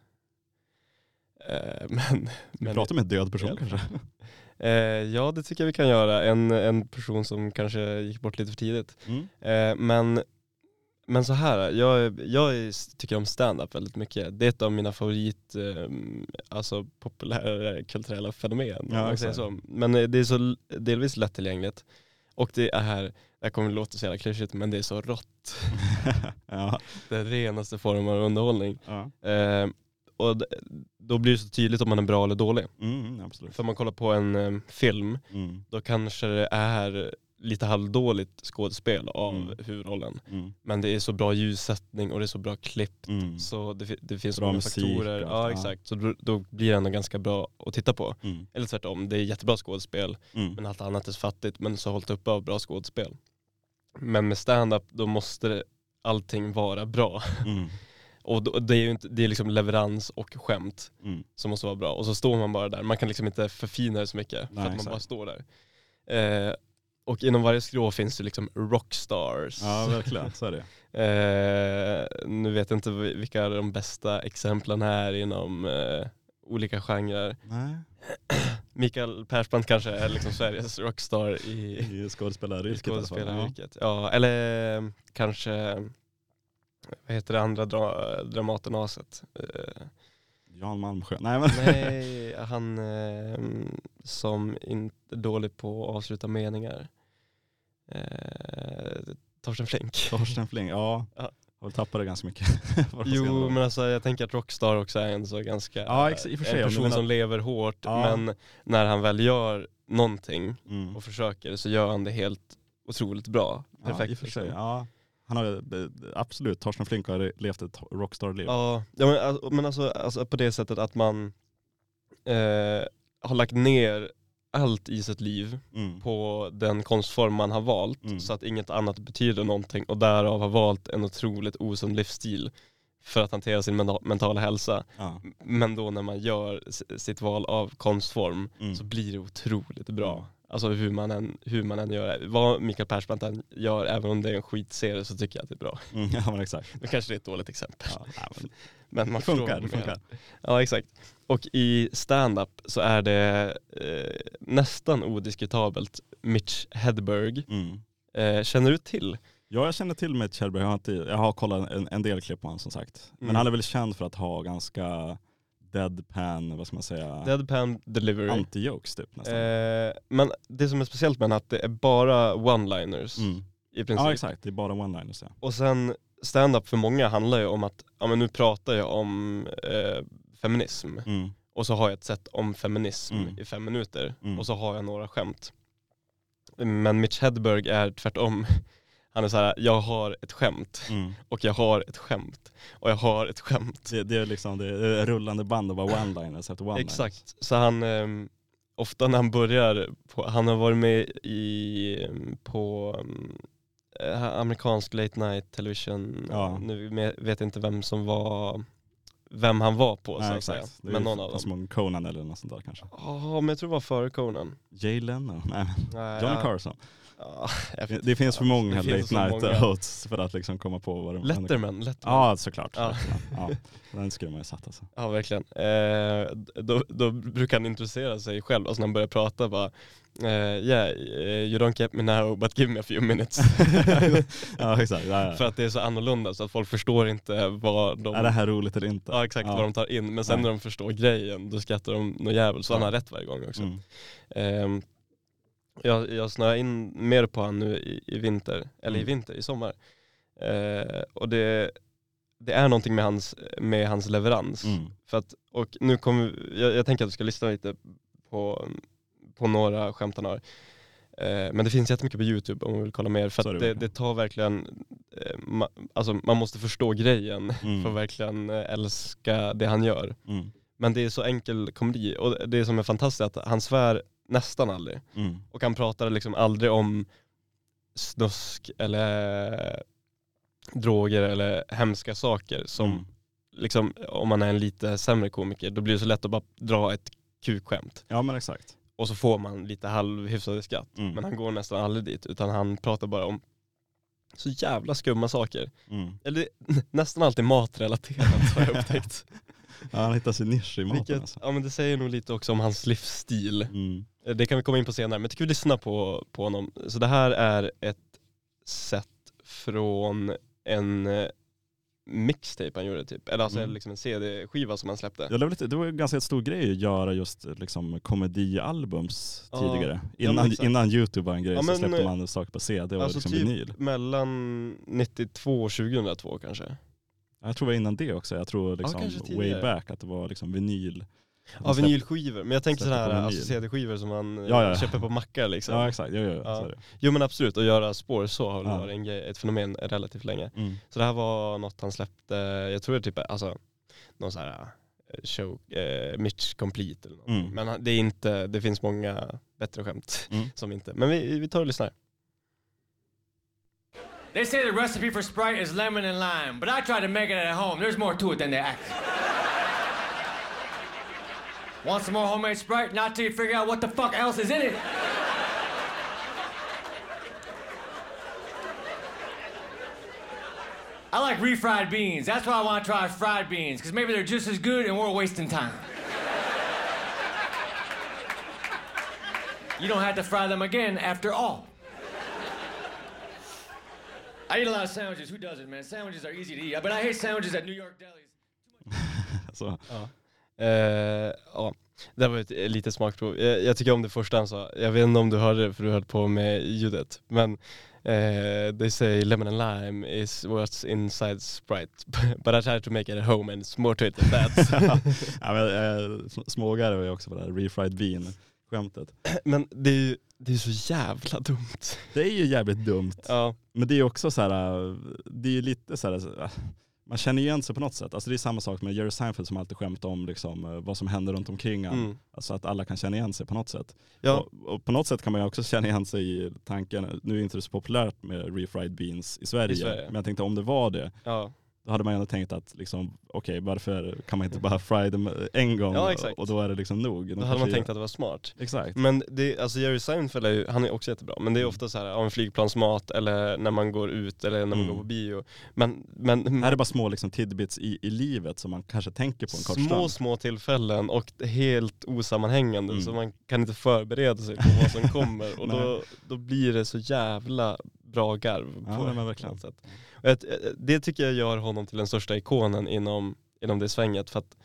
S2: Eh, men
S1: Men
S2: men
S1: Prata med en död person
S2: Ja.
S1: kanske.
S2: eh, ja det tycker jag vi kan göra. En, en person som kanske gick bort lite för tidigt.
S1: Mm.
S2: Eh, men, men så här, jag, jag är- tycker om stand-up väldigt mycket. Det är ett av mina favorit, eh, alltså populära kulturella fenomen. om
S1: Ja,
S2: man säger
S1: exakt.
S2: så. Men eh, det är så l- delvis lättillgängligt. Och det är här, det här kommer låta så jävla klyschigt men det är så rått.
S1: ja.
S2: Den renaste formen av underhållning.
S1: Ja.
S2: Eh, och d- då blir det så tydligt om man är bra eller dålig.
S1: Mm, absolut.
S2: För om man kollar på en eh, film,
S1: Mm,
S2: då kanske det är lite halvdåligt skådespel av
S1: Mm.
S2: huvudrollen.
S1: mm,
S2: Men det är så bra ljussättning och det är så bra klipp.
S1: mm,
S2: Så det, fi- det finns så
S1: Bra
S2: många
S1: musik
S2: faktorer.
S1: och allt,
S2: Ja,
S1: ja.
S2: exakt. Så då, då blir det ändå ganska bra att titta på.
S1: mm,
S2: Eller tvärtom, det är jättebra skådespel
S1: mm.
S2: men allt annat är fattigt men så hållt uppe av bra skådespel. Men med stand-up då måste det- allting vara bra.
S1: Mm,
S2: Och då, det är ju inte, det är liksom leverans och skämt
S1: mm.
S2: som måste vara bra. Och så står man bara där, man kan liksom inte förfina det så mycket för
S1: Nej,
S2: att man
S1: exakt.
S2: bara står där. Eh, och inom varje skrå finns det liksom rockstars.
S1: Ja verkligen, så är det.
S2: Eh, nu vet jag inte vi- vilka de bästa exemplen är inom eh, olika genrer.
S1: Nej,
S2: Mikael Persbrandt kanske är liksom Sveriges rockstar i
S1: i skådespelaryrket i alla fall.
S2: skådespelaryrket. Ja, eller eh, kanske, vad heter det andra dra- Dramatenaset? Eh,
S1: Ja. Jan Malmsjö. Nej men.
S2: nej, han eh, som inte är dålig på att avsluta meningar. Eh, Torsten Flink.
S1: Torsten Flinck, ja.
S2: Ja.
S1: Har väl tappat det ganska mycket. Vad de ska göra.
S2: Jo men alltså jag tänker att Rockstar också är en så ganska,
S1: Ja, ex- i och för sig, om
S2: en
S1: du
S2: person
S1: menar-
S2: som lever hårt
S1: Ja.
S2: men när han väl gör någonting
S1: mm.
S2: och försöker så gör han det helt otroligt bra. Perfekt.
S1: ja, i och för sig.
S2: liksom.
S1: Ja. Han har eh, absolut, Torsten Flinck har levt ett rockstar-liv.
S2: Ja, ja men, alltså- men alltså, alltså på det sättet att man eh, har lagt ner allt i sitt liv
S1: Mm.
S2: på den konstform man har valt
S1: Mm.
S2: så att inget annat betyder någonting och därav har valt en otroligt osund livsstil för att hantera sin menta- mentala hälsa.
S1: Ja.
S2: Men då när man gör s- sitt val av konstform
S1: Mm.
S2: så blir det otroligt bra.
S1: Mm.
S2: Alltså hur man, än, hur man än gör det. Vad Mikael Persbrandt än gör, även om det är en skitserie, så tycker jag att det är bra.
S1: Mm, ja men exakt.
S2: Nu kanske det är ett dåligt exempel.
S1: Ja, nej, men
S2: Men man
S1: det
S2: förstår
S1: funkar.
S2: vad
S1: Det
S2: jag menar.
S1: funkar.
S2: Ja exakt. Och i stand-up så är det eh, nästan odiskutabelt Mitch Hedberg.
S1: Mm.
S2: Eh, känner du till?
S1: Ja, jag känner till Mitch Hedberg. Jag har, inte, jag har kollat en, en del klipp på honom som sagt. Men
S2: Mm.
S1: han är väl känd för att ha ganska deadpan, vad ska man säga,
S2: Deadpan delivery.
S1: anti-jokes typ nästan.
S2: Eh, men det som är speciellt med den är att det är bara one-liners
S1: Mm.
S2: i princip.
S1: Ja exakt, det är bara one-liners ja.
S2: Och sen stand-up för många handlar ju om att, ja men nu pratar jag om eh, feminism
S1: Mm.
S2: och så har jag ett sätt om feminism
S1: Mm.
S2: i fem minuter
S1: Mm.
S2: och så har jag några skämt. Men Mitch Hedberg är tvärtom. Han är så här, jag har ett skämt
S1: Mm.
S2: och jag har ett skämt och jag har ett skämt.
S1: Det, det är liksom det är rullande band och bara one-liners efter one-liners.
S2: Exakt, så han, ehm, ofta när han börjar, på, han har varit med i, ehm, på ehm, eh, amerikansk late night television,
S1: Ja.
S2: nu me- vet jag inte vem som var, vem han var på så
S1: Nej,
S2: att säga,
S1: exakt. Det är
S2: men någon av
S1: som
S2: dem.
S1: en Conan eller något sånt där kanske.
S2: Ja, men jag tror det var före Conan.
S1: Jay Leno? Nej, men
S2: Nej,
S1: Johnny
S2: ja.
S1: Carson.
S2: Ja, jag
S1: Det,
S2: vet
S1: det finns för
S2: inte.
S1: många
S2: Det finns
S1: late
S2: så
S1: night
S2: många.
S1: outs för att liksom komma på vad de
S2: Letterman, Letterman.
S1: Ja såklart.
S2: Ja.
S1: Letterman. Ja. Den skulle man ju satt alltså.
S2: Ja verkligen. Eh, då, då brukar han introducera sig själv, alltså när han börjar prata bara eh, Yeah, eh, you don't get me now but give me a few minutes.
S1: ja exakt. Ja, ja.
S2: För att det är så annorlunda så att folk förstår inte vad de,
S1: Är det här roligt eller inte?
S2: ja, exakt
S1: Ja.
S2: vad de tar in. Men sen
S1: Nej.
S2: när de förstår grejen då skrattar de något jävligt. Så han
S1: Ja.
S2: har rätt varje gång också.
S1: Mm.
S2: Ehm, jag, jag snöar in mer på han nu i, i vinter, eller i
S1: Mm.
S2: vinter, i sommar. Eh, och det, det är någonting med hans, med hans leverans.
S1: Mm.
S2: För att, och nu kommer, jag, jag tänker att du ska lyssna lite på, på några skämt han har. Eh, men det finns jättemycket på YouTube om man vill kolla mer.
S1: Så
S2: För
S1: är
S2: att
S1: det
S2: det, det
S1: verkligen.
S2: tar verkligen, eh, ma, alltså man måste förstå grejen
S1: Mm.
S2: för att verkligen eh, älska det han gör.
S1: Mm.
S2: Men det är så enkel komedi och det som är fantastiskt är att han svär nästan aldrig.
S1: Mm.
S2: Och han pratar liksom aldrig om snusk eller droger eller hemska saker som
S1: Mm.
S2: liksom, om man är en lite sämre komiker, då blir det så lätt att bara dra ett kukskämt
S1: Ja men exakt.
S2: och så får man lite halvhyfsade skratt.
S1: Mm.
S2: Men han går nästan aldrig dit, utan han pratar bara om så jävla skumma saker.
S1: Mm.
S2: Eller nästan alltid matrelaterat har jag upptäckt.
S1: Ja, han hittar sin nisch i maten
S2: Vilket,
S1: alltså.
S2: ja men det säger nog lite också om hans livsstil.
S1: Mm.
S2: Eh, Det kan vi komma in på senare, men jag tycker vi lyssnar på, på honom. Så det här är ett set från en eh, mixtape han gjorde typ, eller alltså
S1: Mm.
S2: liksom en CD-skiva som han släppte.
S1: Ja, det, var lite, det var ju en ganska stor grej att göra just eh, liksom, komedialbums
S2: Ja.
S1: tidigare.
S2: Ja, men
S1: Innan,
S2: exakt.
S1: innan YouTube var en grej
S2: Ja,
S1: så
S2: men,
S1: släppte
S2: eh,
S1: man saker på CD och
S2: alltså
S1: liksom
S2: typ-
S1: vinyl.
S2: Mellan 92 och 2002 kanske.
S1: Ja, Jag tror det var innan det också. Jag tror liksom
S2: kanske tidigare.
S1: way back att det var liksom vinyl.
S2: Ja
S1: Släpp-
S2: vinylskivor, men jag tänker
S1: släppte på
S2: sådana här
S1: vinyl.
S2: alltså, CD-skivor som man eh,
S1: Ja, ja.
S2: köper på mackar liksom.
S1: Ja exakt, jo, jo,
S2: Ja.
S1: så är det.
S2: Jo men absolut, att göra spår så har det
S1: Ja.
S2: varit en grej, ett fenomen relativt länge.
S1: Mm.
S2: Så det här var något han släppte, jag tror det typ är, alltså någon sån här eh, show, eh, Mitch Complete eller någonting.
S1: Mm.
S2: Men han- det är inte, det finns många bättre skämt
S1: Mm.
S2: som inte, men vi, vi tar och lyssnar.
S9: They say the recipe for Sprite is lemon and lime, but I tried to make it at home. There's more to it than that. Want some more homemade Sprite? Not till you figure out what the fuck else is in it. I like refried beans. That's why I want to try fried beans, because maybe they're just as good and we're wasting time. You don't have to fry them again after all. I eat a lot of sandwiches. Who doesn't, man? Sandwiches are easy to eat, but I hate sandwiches at New York delis.
S1: Så,
S2: Eh, ja, det här var ett eh, litet smakprov. Jag, jag tycker om det första han sa. Jag vet inte om du hörde det för du höll på med ljudet. Men eh, they say lemon and lime is what's inside Sprite. But I tried to make it at home and it's more to it than that.
S1: ja, men, eh, sm- smågarv är också på det här refried bean skämtet.
S2: men det är ju det är så jävla dumt.
S1: Det är ju jävligt dumt.
S2: Ja,
S1: Men det är ju också så här, eh, det är ju lite så här, eh, man känner igen sig på något sätt. Alltså det är samma sak med Jerry Seinfeld som alltid skämtar om liksom, eh, vad som händer runt omkring han.
S2: Mm.
S1: Alltså att alla kan känna igen sig på något sätt.
S2: ja,
S1: Och, och på något sätt kan man ju också känna igen sig i tanken, nu är inte det så populärt med refried beans i Sverige,
S2: Sverige.
S1: men jag tänkte om det var det,
S2: ja.
S1: då hade man ju ändå tänkt att liksom, okej varför kan man inte bara fry dem en gång
S2: Ja, exakt.
S1: och då är det liksom nog. De
S2: Då hade man
S1: kanske
S2: tänkt
S1: gör-
S2: att det var smart.
S1: Exakt.
S2: Men det, alltså Jerry Seinfeld är ju, han är också jättebra, men det är ofta så här, ja, en flygplansmat eller när man går ut eller när man
S1: Mm.
S2: går på bio. Men, men
S1: Här är bara små liksom, tidbits i, i livet som man kanske tänker på en kort
S2: små,
S1: stund.
S2: små tillfällen och helt osammanhängande
S1: Mm.
S2: så man kan inte förbereda sig på vad som kommer och då, då blir det så jävla bra garv
S1: Ja,
S2: på
S1: nej, men verkligen.
S2: något sätt. eh, Och jag, det tycker jag gör honom till den största ikonen inom, inom det svänget för att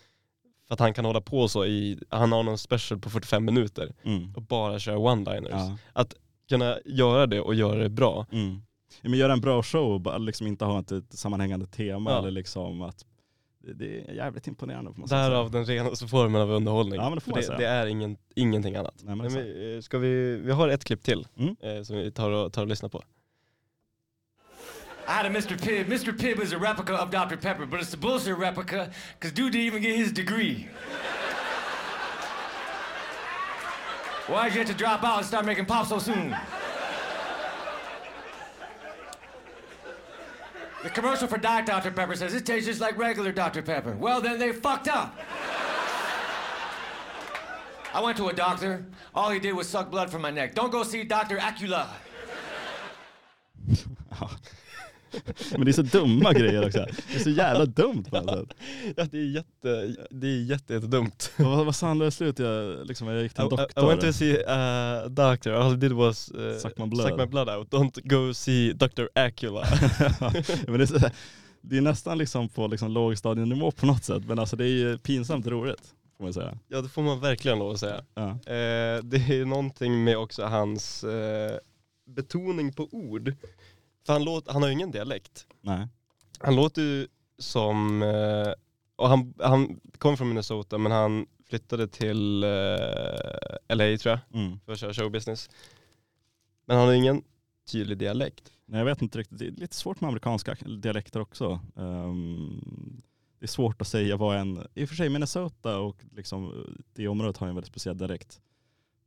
S2: För att han kan hålla på så i, han har någon special på 45 minuter
S1: Mm.
S2: och bara köra one-liners.
S1: Ja.
S2: Att kunna göra det och göra det bra.
S1: Mm. Ja, men göra en bra show och bara liksom inte ha ett, ett sammanhängande tema
S2: Ja.
S1: eller liksom att det, det är jävligt imponerande får man säga.
S2: Därav den renaste formen av underhållning.
S1: Ja, men det får
S2: För
S1: man
S2: det,
S1: säga.
S2: det är ingen, ingenting annat.
S1: Nej, men
S2: Nej,
S1: exakt.
S2: men, eh, ska vi, vi har ett klipp till
S1: Mm.
S2: eh, som vi tar och, tar och lyssnar på.
S9: I had a Mr. Pibb. Mr. Pibb is a replica of Dr. Pepper, but it's a bullshit replica because dude didn't even get his degree. Why'd you have to drop out and start making pop so soon? The commercial for Diet Dr. Pepper says it tastes just like regular Dr. Pepper. Well, then they fucked up. I went to a doctor. All he did was suck blood from my neck. Don't go see Dr. Acula.
S1: Ja. Men det är så dumma grejer också. Det är så jävla dumt på något sätt.
S2: Ja, det är jätte, det är jätte, jättedumt.
S1: Och Vad, vad sannolikt slut jag, liksom, jag gick till en
S2: I,
S1: doktor.
S2: I, I went to see a doctor, all he did was eh,
S1: Suck my blood.
S2: suck my blood out. Don't go see Dr. Acula.
S1: Ja, men det, är så, det är nästan liksom på liksom lågstadienivå på något sätt. Men alltså det är ju pinsamt roligt får man säga.
S2: ja det får man verkligen lov att säga.
S1: Ja.
S2: Eh, det är någonting med också hans eh, betoning på ord. För han, låt, han har ju ingen dialekt.
S1: Nej.
S2: Han låter ju som, eh, och han, han kom från Minnesota men han flyttade till eh, LA tror jag
S1: Mm.
S2: för att köra showbusiness. Men han har ingen tydlig dialekt.
S1: Nej jag vet inte riktigt. Det är lite svårt med amerikanska dialekter också. Ehm, det är svårt att säga vad en, i och för sig Minnesota och liksom det området har ju en väldigt speciell dialekt.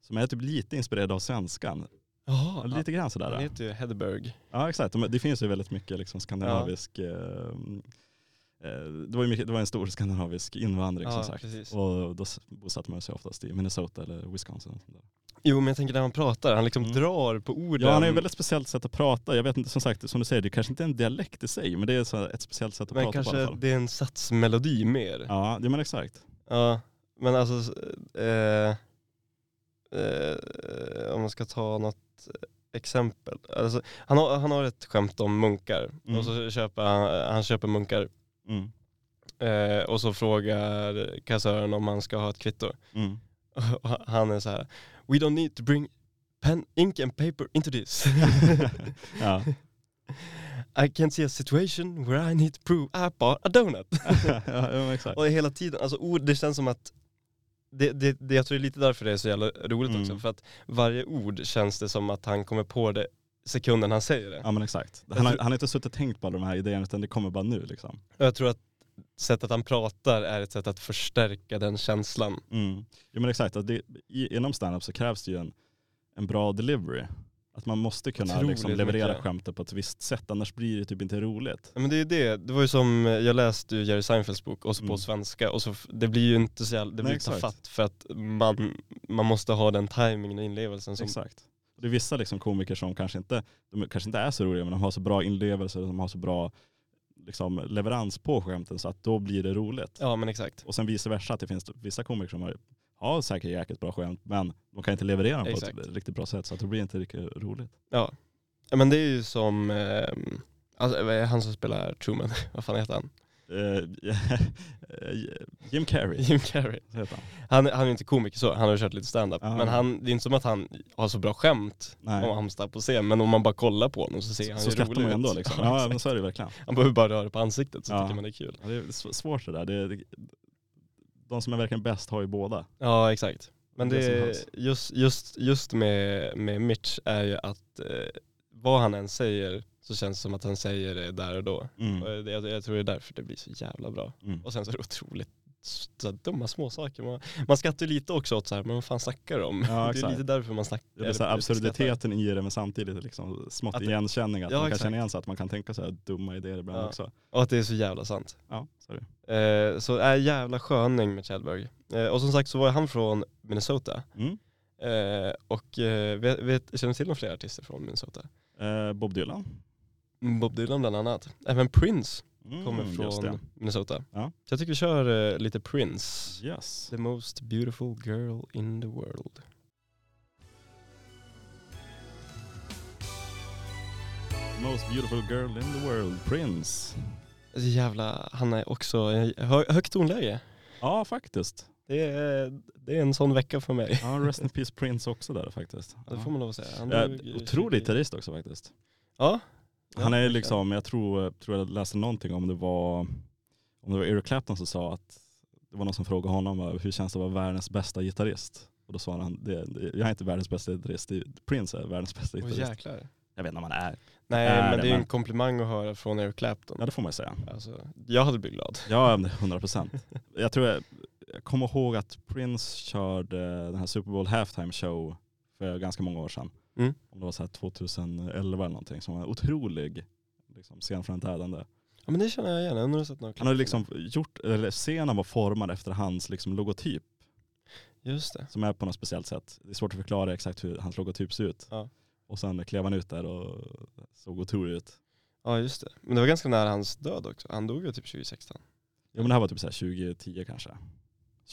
S1: Som är typ lite inspirerad av svenskan.
S2: Jaha,
S1: Lite grann
S2: han
S1: sådär.
S2: heter ju Hedberg.
S1: Ja exakt, De- det finns ju väldigt mycket liksom skandinavisk, eh, eh, det, var ju mycket, det var en stor skandinavisk invandring
S2: Ja,
S1: som sagt.
S2: precis.
S1: Och då s- bosatte man sig oftast i Minnesota eller Wisconsin. och sånt där.
S2: Jo men jag tänker när han pratar, han liksom
S1: Mm.
S2: drar på orden.
S1: Ja han har ju ett väldigt speciellt sätt att prata. Jag vet inte, som sagt, som du säger, det kanske inte är en dialekt i sig, men det är så här ett speciellt sätt att
S2: men
S1: prata på i alla
S2: kanske
S1: fall.
S2: det är en satsmelodi mer. Ja,
S1: Ja, det, men exakt.
S2: men alltså, eh, eh, om man ska ta något exempel. Alltså, han, har, han har ett skämt om munkar
S1: Mm.
S2: och så köper han, han köper munkar
S1: Mm.
S2: eh, och så frågar kassören om han ska ha ett kvitto.
S1: Mm.
S2: Och han är så här, we don't need to bring pen, ink and paper into this.
S1: Ja.
S2: I can see a situation where I need to prove I bought a donut.
S1: ja, men exakt.
S2: och hela tiden, alltså ord, det känns som att det, det, det, jag tror det är lite därför det är så jävla roligt
S1: Mm.
S2: också, för att varje ord känns det som att han kommer på det sekunden han säger det.
S1: Ja men exakt. Han har, han har inte suttit och tänkt på alla de här idéerna utan det kommer bara nu liksom.
S2: Och jag tror att sättet han pratar är ett sätt att förstärka den känslan.
S1: Mm. Jo men exakt, att det, i, inom standup så krävs det ju en, en bra delivery. Att man måste kunna
S2: Otroligt
S1: liksom, leverera
S2: mycket.
S1: skämtet på ett visst sätt, annars blir det typ inte roligt.
S2: Ja, Men det är ju det, det var ju som, eh, jag läste ju Jerry Seinfelds bok och så på
S1: Mm.
S2: svenska och så, f- det blir ju inte så jävla, det blir
S1: Nej,
S2: inte
S1: exakt.
S2: fatt för att man, man måste ha den timingen och inlevelsen som,
S1: Exakt. Och det är vissa liksom, komiker som kanske inte, de kanske inte är så roliga men de har så bra inlevelser, de har så bra liksom, leverans på skämten så att då blir det roligt.
S2: ja men exakt.
S1: Och sen vice versa, att det finns vissa komiker som har, har säkert jäkligt bra skämt men de kan inte leverera dem på
S2: Exakt.
S1: ett riktigt bra sätt så att det blir inte riktigt roligt.
S2: Ja, men det är ju som, eh, alltså, vad är han som spelar Truman, vad fan heter han?
S1: Eh, Jim Carrey
S2: Jim Carrey.
S1: heter han.
S2: Han, han är ju inte komiker så, han har ju kört lite standup.
S1: Ja.
S2: Men han, det är inte som att han har så bra skämt
S1: Nej.
S2: om han står på scen, men om man bara kollar på honom så ser han
S1: så
S2: ju
S1: skrattar
S2: rolig
S1: man ju ändå
S2: ut.
S1: liksom.
S2: Ja,
S1: Ja,
S2: exakt.
S1: men så är det verkligen.
S2: Han behöver bara röra på ansiktet så
S1: Ja.
S2: tycker man det är kul.
S1: Ja, det är sv- svårt det där. Det, det, de som är verkligen bäst har ju båda.
S2: Ja exakt. Men
S1: Det är som
S2: det,
S1: hans.
S2: just, just, just med, med Mitch är ju att eh, vad han än säger så känns det som att han säger det där och då.
S1: Mm.
S2: Och det, jag, jag tror det är därför det blir så jävla bra.
S1: Mm.
S2: Och sen så är det otroligt s- så här dumma småsaker. Man, man skrattar ju lite också åt så här, men vad fan snackar de om?
S1: Ja,
S2: det är
S1: exakt.
S2: lite därför man snackar.
S1: Det är så här
S2: eller skrattar.
S1: absurditeten i det men samtidigt liksom smått
S2: Att det-
S1: igenkänning. Att
S2: Ja,
S1: man kan
S2: exakt.
S1: känna igen sig, att man kan tänka så här dumma idéer ibland
S2: Ja.
S1: också.
S2: Och att det är så jävla sant.
S1: Ja, så är det.
S2: Eh, så är jävla sköning med Chadberg. Eh, och som sagt så var han från Minnesota.
S1: Mm.
S2: Eh, och eh, vet, vet, känner du till några fler artister från Minnesota?
S1: Eh, Bob Dylan.
S2: Bob Dylan bland annat. Även Prince
S1: Mm,
S2: kommer
S1: Just det.
S2: från Minnesota.
S1: Ja.
S2: Så jag tycker vi kör eh, lite Prince.
S1: Yes.
S2: The most beautiful girl in the world.
S1: Most beautiful girl in the world, Prince.
S2: Alltså, jävla, han är också i hö högt tonläge.
S1: Ja faktiskt.
S2: Det är, det är en sån vecka för mig.
S1: Ja, Rest in Peace Prince också där faktiskt.
S2: Det får
S1: Ja.
S2: man lov att säga. Han
S1: Eh,
S2: dog i-
S1: otrolig gitarrist också faktiskt.
S2: Ja.
S1: Han är
S2: verkligen.
S1: liksom, jag tror, tror jag läste någonting om det var, om det var Eric Clapton som sa att det var någon som frågade honom va, hur känns det att vara världens bästa gitarrist? Och då svarade han, det, det, jag är inte världens bästa gitarrist, det är- Prince är världens bästa
S2: Åh,
S1: gitarrist.
S2: jäklar.
S1: jag vet inte om han är.
S2: Nej
S1: Är
S2: men
S1: det,
S2: det är ju
S1: Äh, men-
S2: en komplimang att höra från Eric Clapton.
S1: Ja det får man ju säga.
S2: Alltså, jag hade blivit glad.
S1: Ja, 100 procent. Jag tror jag, jag kommer ihåg att Prince körde den här Super Bowl halftime show för ganska många år sedan.
S2: Mm.
S1: Om det var så här 2011 eller någonting. Som var en otrolig liksom, scen från ett dödande.
S2: Ja men det känner jag igen, jag har nog sett några
S1: Han
S2: klipp
S1: har
S2: på
S1: liksom gjort, eller scenen var formad efter hans liksom, logotyp
S2: det.
S1: liksom-
S2: Just det.
S1: som är på något speciellt sätt. Det är svårt att förklara exakt hur hans logotyp ser ut.
S2: Ja.
S1: Och sen klev han ut där och såg otrolig ut.
S2: Ja just det. Men det var ganska nära hans död också. Han dog ju typ 2016.
S1: Ja men det här var typ så här 2010 kanske.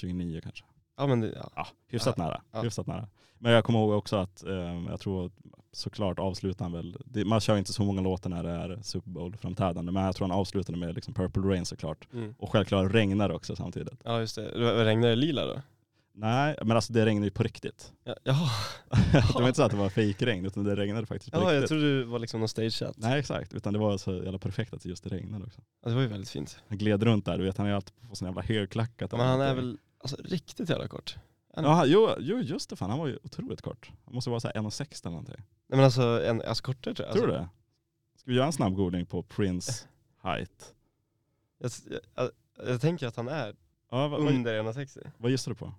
S1: 2009 kanske.
S2: Ja men det, ja.
S1: Ja, hyfsat nära.
S2: ja.
S1: Hyfsat nära. Men jag kommer ihåg också att, eh, jag tror att såklart avslutar han väl, det, man kör inte så många låtar när det är Super Bowl-framträdande, men jag tror han avslutade med liksom Purple Rain såklart.
S2: Mm.
S1: Och självklart regnar det också samtidigt.
S2: ja just det. Det Regnade det lila då?
S1: Nej, men alltså det regnade ju på riktigt.
S2: Ja, jaha.
S1: det var inte så att det var fejkregn, utan det regnade faktiskt på
S2: Jaha, jag
S1: riktigt.
S2: trodde det var liksom någon stageat.
S1: Nej exakt, utan det var så jävla perfekt att just det regnade också.
S2: Ja, det var ju väldigt fint.
S1: Han gled runt där, du vet han är alltid på sin jävla högklackat.
S2: Men han är väl alltså, riktigt jävla kort.
S1: Ja, han, jo, jo just det fan, han var ju otroligt kort. Han måste vara såhär 1,60 eller någonting.
S2: Nej men alltså, en, alltså kortare tror jag.
S1: Tror du det? Ska vi göra en snabb googling på Prince height?
S2: Alltså, jag, jag, jag, jag tänker att han är
S1: Ja, vad, vad,
S2: under 1,60.
S1: vad gissar du på?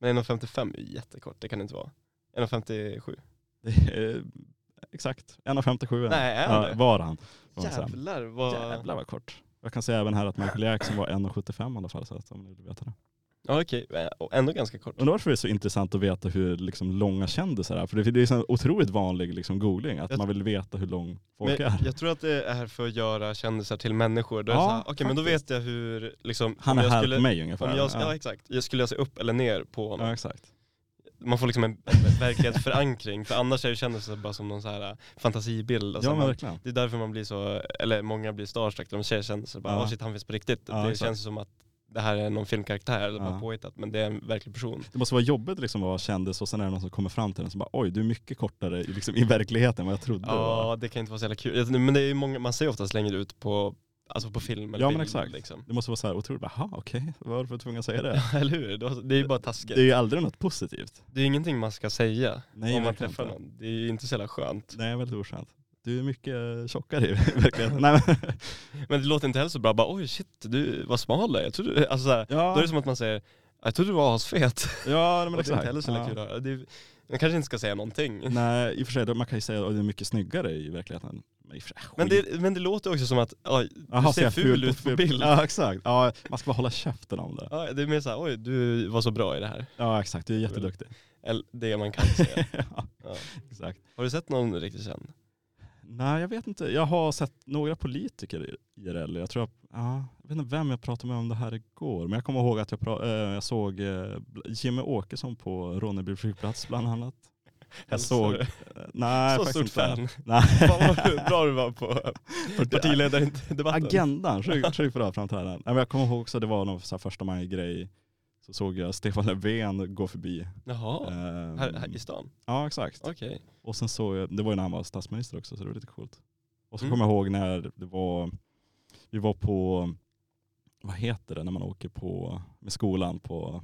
S2: Men 1,55 är ju jättekort, det kan det inte vara. 1,57.
S1: Det är, eh, exakt, 1,57
S2: Nej, är han
S1: ja,
S2: det?
S1: var han. Var han sen.
S2: Jävlar vad...
S1: Jävlar vad kort. Jag kan säga även här att Michael Jackson var 1,75 i alla fall, så att om ni vill veta det.
S2: Ja okej, och ändå ganska kort.
S1: Undrar varför det är så intressant att veta hur liksom, långa kändisar är, för det, det är en sån otroligt vanlig liksom, googling, att
S2: Jag-
S1: man vill veta hur lång
S2: Men
S1: folk är.
S2: jag tror att det är för att göra kändisar till människor. Då är
S1: Ja,
S2: det så här, okej men då
S1: faktiskt.
S2: vet jag hur, liksom,
S1: Han
S2: om
S1: är
S2: jag
S1: här
S2: skulle,
S1: för mig ungefär.
S2: Om jag, ja.
S1: ja.
S2: exakt, jag skulle jag se upp eller ner på honom.
S1: ja, exakt.
S2: Man får liksom en, en verklighetsförankring, för annars är det kändisar bara som någon så här eh, fantasibild. Alltså,
S1: Ja men
S2: man,
S1: verkligen.
S2: det är därför man blir så, eller många blir starstruck när de ser kändisar, bara
S1: Ja.
S2: "Åh, shit han finns på riktigt.
S1: Ja,
S2: det
S1: exakt.
S2: känns som att det här är någon filmkaraktär eller bara
S1: Ja.
S2: påhittat, men det är en verklig person.
S1: Det måste vara jobbigt liksom att vara kändis och sen är det någon som kommer fram till en som bara oj du är mycket kortare i- liksom, i verkligheten än vad jag trodde. det var."
S2: Ja, det kan inte vara så jävla kul. Jag- Men det är ju många, man ser ju oftast längre ut på, alltså på film eller
S1: Ja
S2: bild,
S1: men exakt.
S2: Liksom.
S1: Det måste vara så här otroligt, jaha okej, varför var du tvungen att säga det?
S2: Eller hur? Då- Det är ju bara taskigt.
S1: Det är ju aldrig något positivt.
S2: Det är ju ingenting man ska säga
S1: Nej,
S2: om man
S1: verkligen
S2: träffar
S1: inte.
S2: någon. Det är ju inte så jävla skönt.
S1: Nej väldigt oskönt. Du är mycket eh, tjockare i verkligheten. Nej, men,
S2: Men det låter inte heller så bra. Bara, oj shit, du var smal där. Jag trodde, du-" alltså, så här, Då är
S1: ja,
S2: det som att man säger, jag trodde du var asfet.
S1: ja men
S2: Och det är inte
S1: exakt.
S2: heller så jävla
S1: Ja.
S2: kul att höra. Det är- Man kanske inte ska säga någonting.
S1: Nej i och för sig, då- man kan ju säga att du är mycket snyggare i verkligheten. Men i och för sig,
S2: Men
S1: skit.
S2: det, men det låter också som att, oj, du
S1: Jaha,
S2: ser ful ut på bild.
S1: Ja exakt. Ja, man ska bara hålla käften om det.
S2: Ja, det är mer såhär, oj du var så bra i det här.
S1: Ja exakt, du är jätteduktig.
S2: Eller det man kan säga.
S1: ja,
S2: Ja.
S1: exakt.
S2: Har du sett någon riktigt känd?
S1: Nej jag vet inte. Jag har sett några politiker i- IRL. Jag tror jag, ja, jag vet inte vem jag pratade med om det här igår. Men jag kommer ihåg att jag, pra, eh, jag såg eh, Jimmy Åkesson på Ronneby flygplats bland annat. Jag
S2: Hälsar
S1: såg,
S2: du?
S1: eh, nej
S2: så
S1: faktiskt
S2: stort
S1: inte.
S2: fan.
S1: Nej.
S2: Fan vad bra du var på partiledardebatten.
S1: Agendan, sjukt sjukt bra framträdande. Nej, men Jag kommer ihåg också, det var någon så här första maj-grej. Så såg jag Stefan Löfven gå förbi.
S2: Jaha,
S1: Ehm,
S2: här, här i stan?
S1: ja exakt.
S2: Okej.
S1: Och sen såg jag, det var ju när han var statsminister också så det var lite coolt. Och så
S2: Mm.
S1: kommer jag ihåg när det var, vi var på, vad heter det när man åker på, med skolan på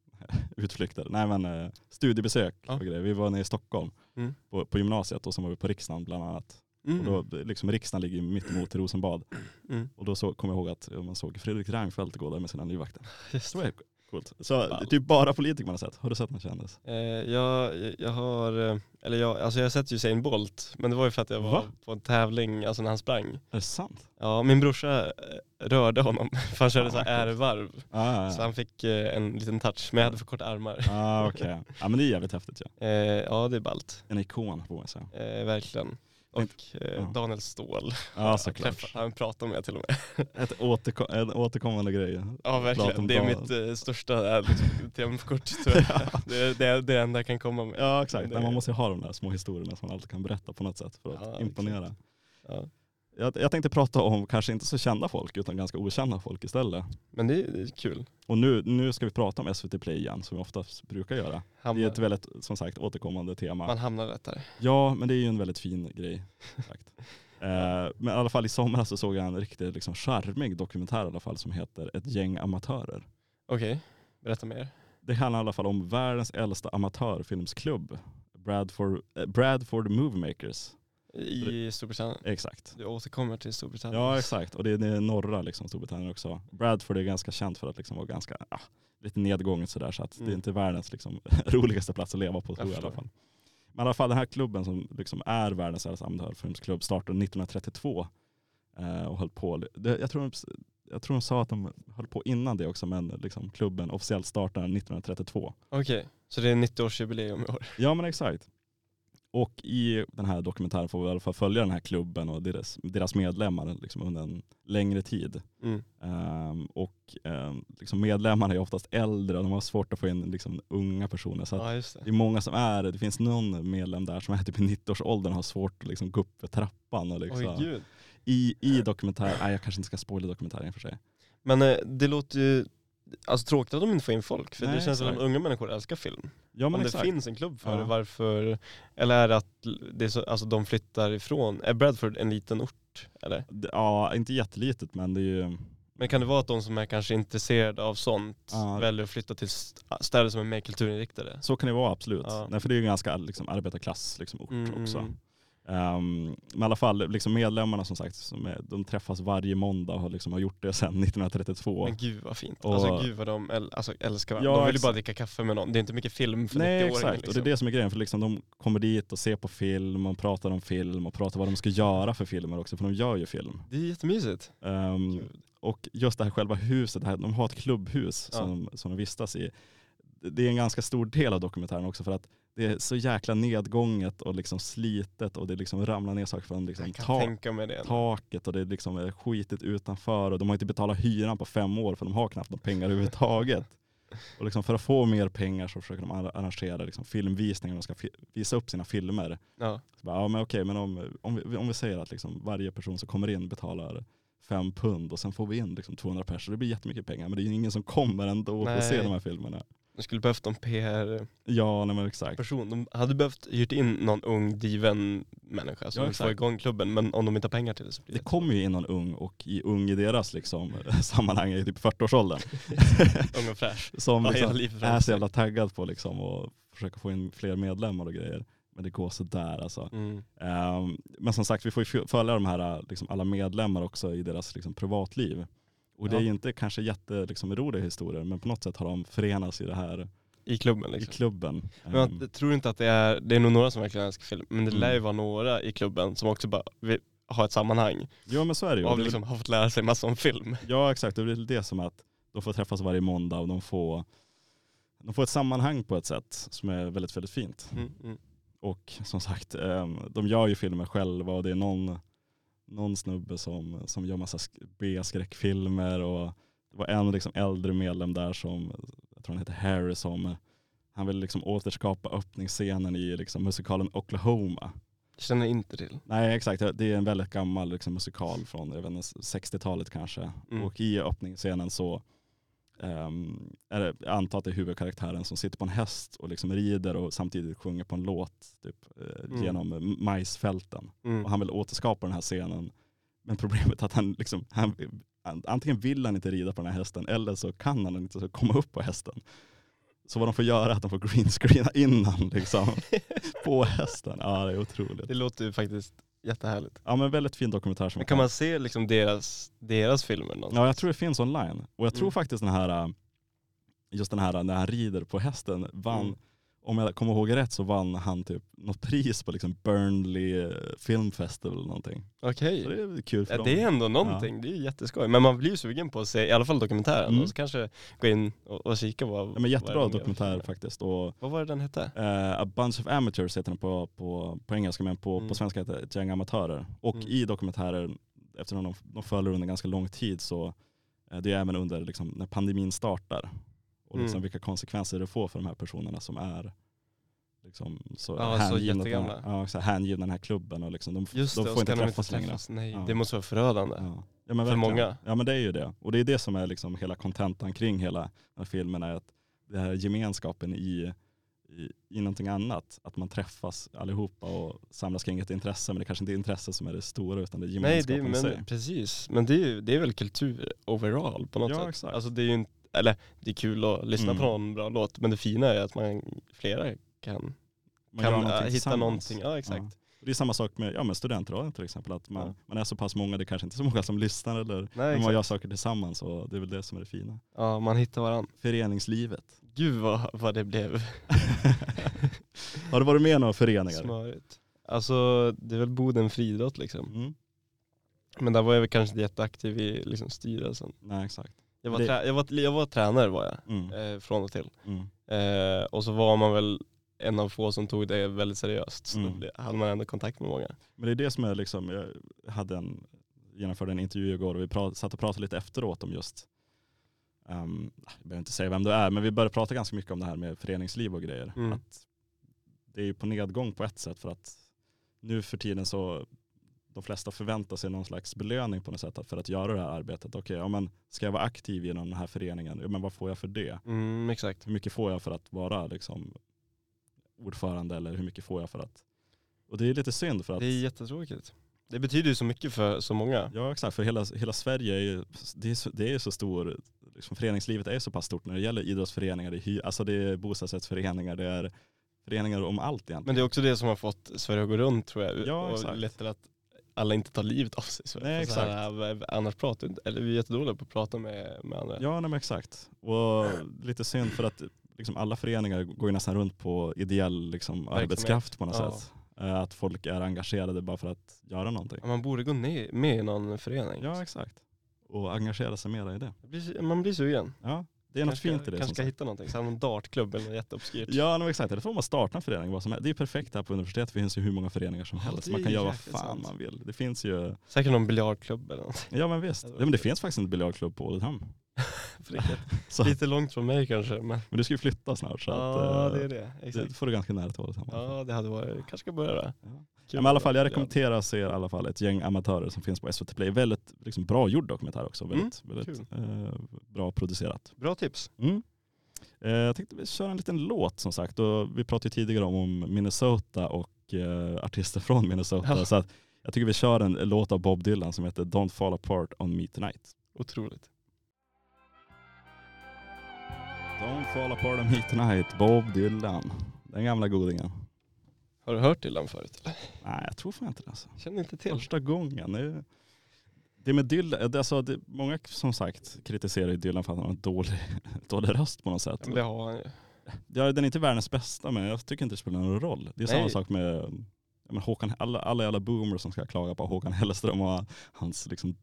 S1: utflykter, nej men eh, studiebesök
S2: Ja.
S1: och grejer. Vi var nere i Stockholm
S2: Mm.
S1: på, på gymnasiet och sen var vi på riksdagen bland annat.
S2: Mm.
S1: Och då, liksom riksdagen ligger ju mittemot Rosenbad.
S2: Mm.
S1: Och då så, kommer jag ihåg att eh, man såg Fredrik Reinfeldt gå där med sina livvakter.
S2: Just
S1: Det
S2: det.
S1: var coolt. Så
S2: Ball.
S1: typ bara politiker man har sett. Har du sett någon kändis?
S2: Eh, jag, jag har, eh, eller jag, alltså jag har sett Usain Bolt, men det var ju för att jag var
S1: Va?
S2: på en tävling, alltså när han sprang.
S1: Är det sant?
S2: Ja, min brorsa eh, rörde honom, för han körde
S1: Fan,
S2: så här
S1: vad
S2: ärevarv.
S1: Ah, ja,
S2: Så
S1: ja.
S2: han fick eh, en liten touch, men jag hade för korta armar.
S1: Ah, okej. Ja men det är jävligt häftigt ju.
S2: Eh, ja, det är ballt.
S1: En ikon får man säga.
S2: Eh, verkligen. Och eh,
S1: ja.
S2: Daniel Ståhl,
S1: Ja
S2: han, träffade, han pratade med till och med.
S1: Ett återko en återkommande grej.
S2: Ja
S1: Prata om
S2: verkligen, det är
S1: Daniel.
S2: mitt eh, största eh, liksom, temkort tror jag. Det är det, är det enda jag kan komma med.
S1: Ja exakt,
S2: Det-
S1: Nej, man måste ju ha de där små historierna som man alltid kan berätta på något sätt för att
S2: Ja,
S1: imponera.
S2: exakt. Ja.
S1: Jag, jag tänkte prata om kanske inte så kända folk utan ganska okända folk istället.
S2: Men det är, det är kul.
S1: Och nu, nu ska vi prata om SVT Play igen som vi oftast brukar göra. Det är ett
S2: Hamnar,
S1: väldigt, som sagt, återkommande tema.
S2: man hamnar rätt där.
S1: Ja, men det är ju en väldigt fin grej. Sagt. Eh, men i alla fall i somras så såg jag en riktigt liksom, charmig dokumentär i alla fall som heter Ett gäng amatörer.
S2: Okej, berätta mer.
S1: Det handlar i alla fall om världens äldsta amatörfilmsklubb, Bradford, eh, Bradford Movemakers.
S2: I Storbritannien.
S1: Exakt.
S2: Du återkommer till Storbritannien.
S1: Ja exakt, och det är, det är norra liksom, Storbritannien också. Bradford är ganska känt för att liksom, vara ganska, ah, lite nedgånget sådär så att det
S2: Mm.
S1: är inte världens liksom, roligaste plats att leva på tror jag, i alla
S2: förstår.
S1: fall. Men i alla fall den här klubben som liksom är världens äldsta amatörfilmsklubb startade 1932 eh, och höll på, det, jag, tror de, jag tror de sa att de höll på innan det också men liksom, klubben officiellt startade 1932.
S2: Okej, så det är 90-årsjubileum i år.
S1: Ja men exakt. Och i den här dokumentären får vi i alla fall följa den här klubben och deras, deras medlemmar liksom, under en längre tid.
S2: Mm.
S1: Ehm, och ehm, liksom medlemmarna är oftast äldre och de har svårt att få in liksom, unga personer. Så att
S2: Ja, just det.
S1: det är många som är, det finns någon medlem där som är typ i 90-årsåldern och har svårt att liksom, gå upp för trappan. Och, liksom,
S2: Oj gud.
S1: I i dokumentären, nej jag kanske inte ska spoila dokumentären i och för sig.
S2: Men eh, det låter ju alltså, tråkigt att de inte får in folk, för det
S1: Nej,
S2: känns som att
S1: exakt.
S2: unga människor älskar film.
S1: Ja
S2: Om
S1: men
S2: det
S1: exakt.
S2: finns en klubb för
S1: Ja.
S2: det, varför? Eller är det att det är så, alltså, de flyttar ifrån? Är Bradford en liten ort? Eller?
S1: D- Ja inte jättelitet men det är ju,
S2: Men kan det vara att de som är kanske intresserade av sånt
S1: Ja.
S2: väljer att flytta till st- ah, städer som är mer kulturinriktade?
S1: så kan det vara absolut.
S2: Ja.
S1: Nej, för det är ju en ganska liksom, arbetarklass liksom, ort
S2: Mm,
S1: också.
S2: mm.
S1: Um, men i alla fall, liksom medlemmarna som sagt, som är, de träffas varje måndag och har liksom, har gjort det sedan 1932.
S2: Men gud vad fint.
S1: Och-
S2: Alltså gud vad de äl- alltså, älskar varandra.
S1: Ja,
S2: de vill ju
S1: ex-
S2: bara dricka kaffe med någon. Det är inte mycket film för
S1: Nej
S2: 90-åringar.
S1: exakt, och
S2: liksom.
S1: det är det som är grejen. För liksom de kommer dit och ser på film och pratar om film och pratar vad de ska göra för filmer också, för de gör ju film.
S2: det är jättemysigt.
S1: Ehm,
S2: Gud.
S1: och just det här själva huset, det här, de har ett klubbhus
S2: Ja.
S1: som, de, som de vistas i. Det är en ganska stor del av dokumentären också för att det är så jäkla nedgånget och liksom slitet och det liksom ramlar ner saker från liksom
S2: Jag kan
S1: tak
S2: tänka mig det.
S1: taket och det är liksom är skitigt utanför och de har inte betalat hyran på fem år för de har knappt några pengar överhuvudtaget. Och liksom för att få mer pengar så försöker de arra- arrangera liksom filmvisningar, de ska fi- visa upp sina filmer.
S2: Ja.
S1: Så bara, ja men okej, men om, om, vi, om vi säger att liksom varje person som kommer in betalar fem pund och sen får vi in liksom 200 personer, så det blir jättemycket pengar men det är ju ingen som kommer ändå för att se
S2: Nej.
S1: de här filmerna.
S2: De skulle behövt en PR-person.
S1: Ja, nej men exakt.
S2: De hade behövt hyrt in någon ung diven människa som
S1: Ja,
S2: vill få
S1: exakt.
S2: igång klubben. Men om de inte har pengar till det så blir
S1: Det
S2: det
S1: kommer ju in någon ung och i ung i deras liksom, sammanhang är typ 40-årsåldern.
S2: ung och fräsch.
S1: som
S2: Ja,
S1: liksom
S2: hela livet
S1: är
S2: framför
S1: så
S2: sig.
S1: jävla taggad på liksom och försöka få in fler medlemmar och grejer. Men det går sådär alltså.
S2: Mm.
S1: Ehm, men som sagt, vi får ju följa de här liksom, alla medlemmar också i deras liksom, privatliv. Och det är
S2: Ja.
S1: ju inte kanske jätteroliga liksom, roliga historier, men på något sätt har de förenats i det här
S2: I klubben
S1: i
S2: liksom.
S1: klubben.
S2: Men
S1: Ehm,
S2: jag tror inte att det är, det är nog några som verkligen älskar film, men det
S1: Mm.
S2: lär ju vara några i klubben som också bara vill ha ett sammanhang
S1: ja men så är det ju.
S2: och har
S1: Det är väl-
S2: liksom har fått lära sig massor om film.
S1: Ja exakt, det är väl det som att de får träffas varje måndag och de får, de får ett sammanhang på ett sätt som är väldigt, väldigt fint.
S2: Mm, mm.
S1: Och som sagt, ehm, de gör ju filmer själva och det är någon, någon snubbe som, som gör massa sk- B-skräckfilmer och det var en liksom äldre medlem där som, jag tror han heter Harry, som han ville liksom återskapa öppningsscenen i liksom musikalen Oklahoma.
S2: Känner inte till.
S1: Nej exakt, det är en väldigt gammal liksom, musikal från jag vet inte, 60-talet kanske.
S2: Mm.
S1: Och i öppningsscenen så ehm, är det, jag antar att det är huvudkaraktären som sitter på en häst och liksom rider och samtidigt sjunger på en låt typ, eh,
S2: Mm.
S1: genom eh, majsfälten.
S2: Mm.
S1: Och han vill återskapa den här scenen. Men problemet är att han, liksom, han an- antingen vill han inte rida på den här hästen eller så kan han inte så komma upp på hästen. Så vad de får göra är att de får greenscreena innan liksom, på hästen. Ja det är otroligt.
S2: Det låter ju faktiskt jättehärligt.
S1: Ja men väldigt fin dokumentär som
S2: Men kan man se liksom deras, deras filmer
S1: Ja jag
S2: någonstans?
S1: tror det finns online. Och jag tror
S2: Mm.
S1: faktiskt den här, äh, just den här äh, när han rider på hästen vann,
S2: Mm.
S1: om jag kommer ihåg rätt så vann han typ något pris på liksom Burnley eh, Film Festival eller någonting.
S2: Okej.
S1: Så det är kul för
S2: Ja,
S1: dem.
S2: Det är ändå någonting, det är ju jätteskoj. Men man blir ju sugen på att se i alla fall dokumentären
S1: Mm.
S2: och så kanske gå in och, och kika vad
S1: ja, men jättebra
S2: vad de gör.
S1: dokumentär faktiskt. Och,
S2: Vad var det den hette?
S1: eh, A Bunch of Amateurs heter den på, på, på engelska men på,
S2: Mm.
S1: på svenska heter det Ett gäng amatörer. Och
S2: Mm.
S1: i dokumentären, eftersom de, de följer under ganska lång tid så eh, det är även under liksom, när pandemin startar och liksom
S2: Mm.
S1: vilka konsekvenser det får för de här personerna som är liksom, så
S2: Ja, så
S1: hängivna, den
S2: jättegamla.
S1: här, ja, så här, hängivna den här klubben och liksom, de, f-
S2: Just
S1: de
S2: det, och
S1: får
S2: så
S1: inte
S2: kan de
S1: träffas,
S2: inte
S1: längre.
S2: träffas. Nej,
S1: Ja.
S2: det måste vara förödande.
S1: Ja. Ja, men
S2: För
S1: verkligen.
S2: många.
S1: Ja men det är ju det. Och det är det som är liksom hela kontentan kring hela den här filmen är att den här gemenskapen i, i, i någonting annat. Att man träffas allihopa och samlas kring ett intresse men det kanske inte är intresse som är det stora utan det är
S2: Nej, det
S1: gemenskapen
S2: är,
S1: i sig.
S2: men, precis. Men det är, ju- det är väl kultur overall på något
S1: Ja,
S2: sätt.
S1: exakt.
S2: Alltså det är ju inte, eller det är kul att lyssna
S1: Mm.
S2: på någon bra låt, men det fina är att man flera kan,
S1: Man gör
S2: kan äh, hitta
S1: tillsammans.
S2: någonting. Ja, exakt.
S1: Och Det är samma sak med ja, men studentradion till exempel. Att man,
S2: Ja.
S1: man är så pass många, det är kanske inte så många som lyssnar eller
S2: Nej,
S1: men man
S2: exakt.
S1: gör saker tillsammans och det är väl det som är det fina.
S2: Ja, man hittar varandra.
S1: Föreningslivet.
S2: Gud vad, vad det blev
S1: Har du varit med i några föreningar?
S2: smörigt. Alltså det är väl Boden friidrott liksom.
S1: Mm.
S2: Men där var jag väl kanske inte jätteaktiv i liksom, styrelsen.
S1: Nej exakt.
S2: Jag var,
S1: Det-
S2: trä- jag, var, jag var tränare var jag,
S1: Mm.
S2: eh, från och till.
S1: Mm.
S2: Eh, och så var man väl en av få som tog det väldigt seriöst. Så
S1: Mm.
S2: då ble- hade man ändå kontakt med många.
S1: Men det är det som är liksom, jag hade en, genomförde en intervju igår och vi pra- satt och pratade lite efteråt om just, ehm, jag behöver inte säga vem du är, men vi började prata ganska mycket om det här med föreningsliv och grejer.
S2: Mm.
S1: Att det är ju på nedgång på ett sätt för att nu för tiden så de flesta förväntar sig någon slags belöning på något sätt att- för att göra det här arbetet. Okej, ja, men ska jag vara aktiv inom den här föreningen? Ja, men vad får jag för det?
S2: Mm, exakt.
S1: hur mycket får jag för att vara liksom, ordförande eller hur mycket får jag för att... Och det är lite synd för att...
S2: Det är jättetråkigt. Det betyder ju så mycket för så många.
S1: Ja exakt, för hela, hela Sverige är ju, det är, så- det är så stor, liksom, föreningslivet är ju så pass stort när det gäller idrottsföreningar, det är, hy, alltså det är bostadsrättsföreningar, det är föreningar om allt egentligen.
S2: Men det är också det som har fått Sverige att gå runt tror jag.
S1: Ja,
S2: och
S1: exakt.
S2: lett till att alla inte tar livet av sig. Så
S1: Nej,
S2: så Här, äh, annars pratar vi inte, eller vi är jättedåliga på att prata med, med andra.
S1: Ja nej, men exakt, och lite synd för att liksom, alla föreningar går ju nästan runt på ideell liksom,
S2: Verksamhet.
S1: arbetskraft på något
S2: Ja.
S1: sätt. Eh, Att folk är engagerade bara för att göra någonting.
S2: Ja, Man borde gå ner, med i någon förening.
S1: Ja exakt, och engagera sig mera i det.
S2: Jag blir- Man blir sugen.
S1: Ja, det är något
S2: Kanske
S1: fint i
S2: ska,
S1: det.
S2: kanske
S1: Som
S2: ska
S1: sagt.
S2: hitta någonting, så här någon dartklubb eller något jätteobskyrt.
S1: Ja, men exakt. Eller får man starta en förening. Vad som helst. Det är perfekt här på universitetet. Det finns ju hur många föreningar som
S2: Ja,
S1: helst.
S2: det
S1: Man
S2: är
S1: kan göra vad
S2: jäkligt
S1: fan
S2: sant.
S1: man vill. Det finns ju,
S2: Säkert någon biljardklubb eller något.
S1: ja men visst.
S2: Det
S1: Ja,
S2: var
S1: men det
S2: kul.
S1: finns faktiskt en biljardklubb på Oldham.
S2: För det är
S1: Så,
S2: Lite långt från mig kanske men.
S1: men du ska ju flytta snart så att,
S2: ja
S1: eh,
S2: det är det,
S1: det
S2: exakt.
S1: får du ganska nära till Oldham. Ja,
S2: Ja det hade varit, kanske ska börja då.
S1: Ja.
S2: Kul
S1: men i alla fall, jag
S2: att-
S1: rekommenderar att se i alla fall ett gäng amatörer som finns på SVT Play. Väldigt liksom, bra gjord dokumentär också. Väldigt,
S2: Mm,
S1: väldigt eh, bra producerat.
S2: Bra tips.
S1: Mm. Eh, jag tänkte vi kör en liten låt som sagt. Och vi pratade ju tidigare om, om Minnesota och eh, artister från Minnesota.
S2: Ja.
S1: Så att jag tycker vi kör en låt av Bob Dylan som heter Don't Fall Apart On Me Tonight.
S2: Otroligt.
S1: Don't Fall Apart On Me Tonight, Bob Dylan. Den gamla godingen.
S2: Har du hört Dylan förut? eller?
S1: Nej, jag tror fan inte det alltså.
S2: Känner inte till.
S1: Första gången. Det, är- det med Dylan, det, alltså, det, många som sagt kritiserar ju Dylan för att han har en dålig, dålig röst på något sätt.
S2: Ja, men det har han ju.
S1: Ja, den är inte världens bästa men jag tycker inte det spelar någon roll. Det är samma
S2: Nej.
S1: sak med jag menar, Håkan, alla, alla jävla boomers som ska klaga på Håkan Hellström och hans liksom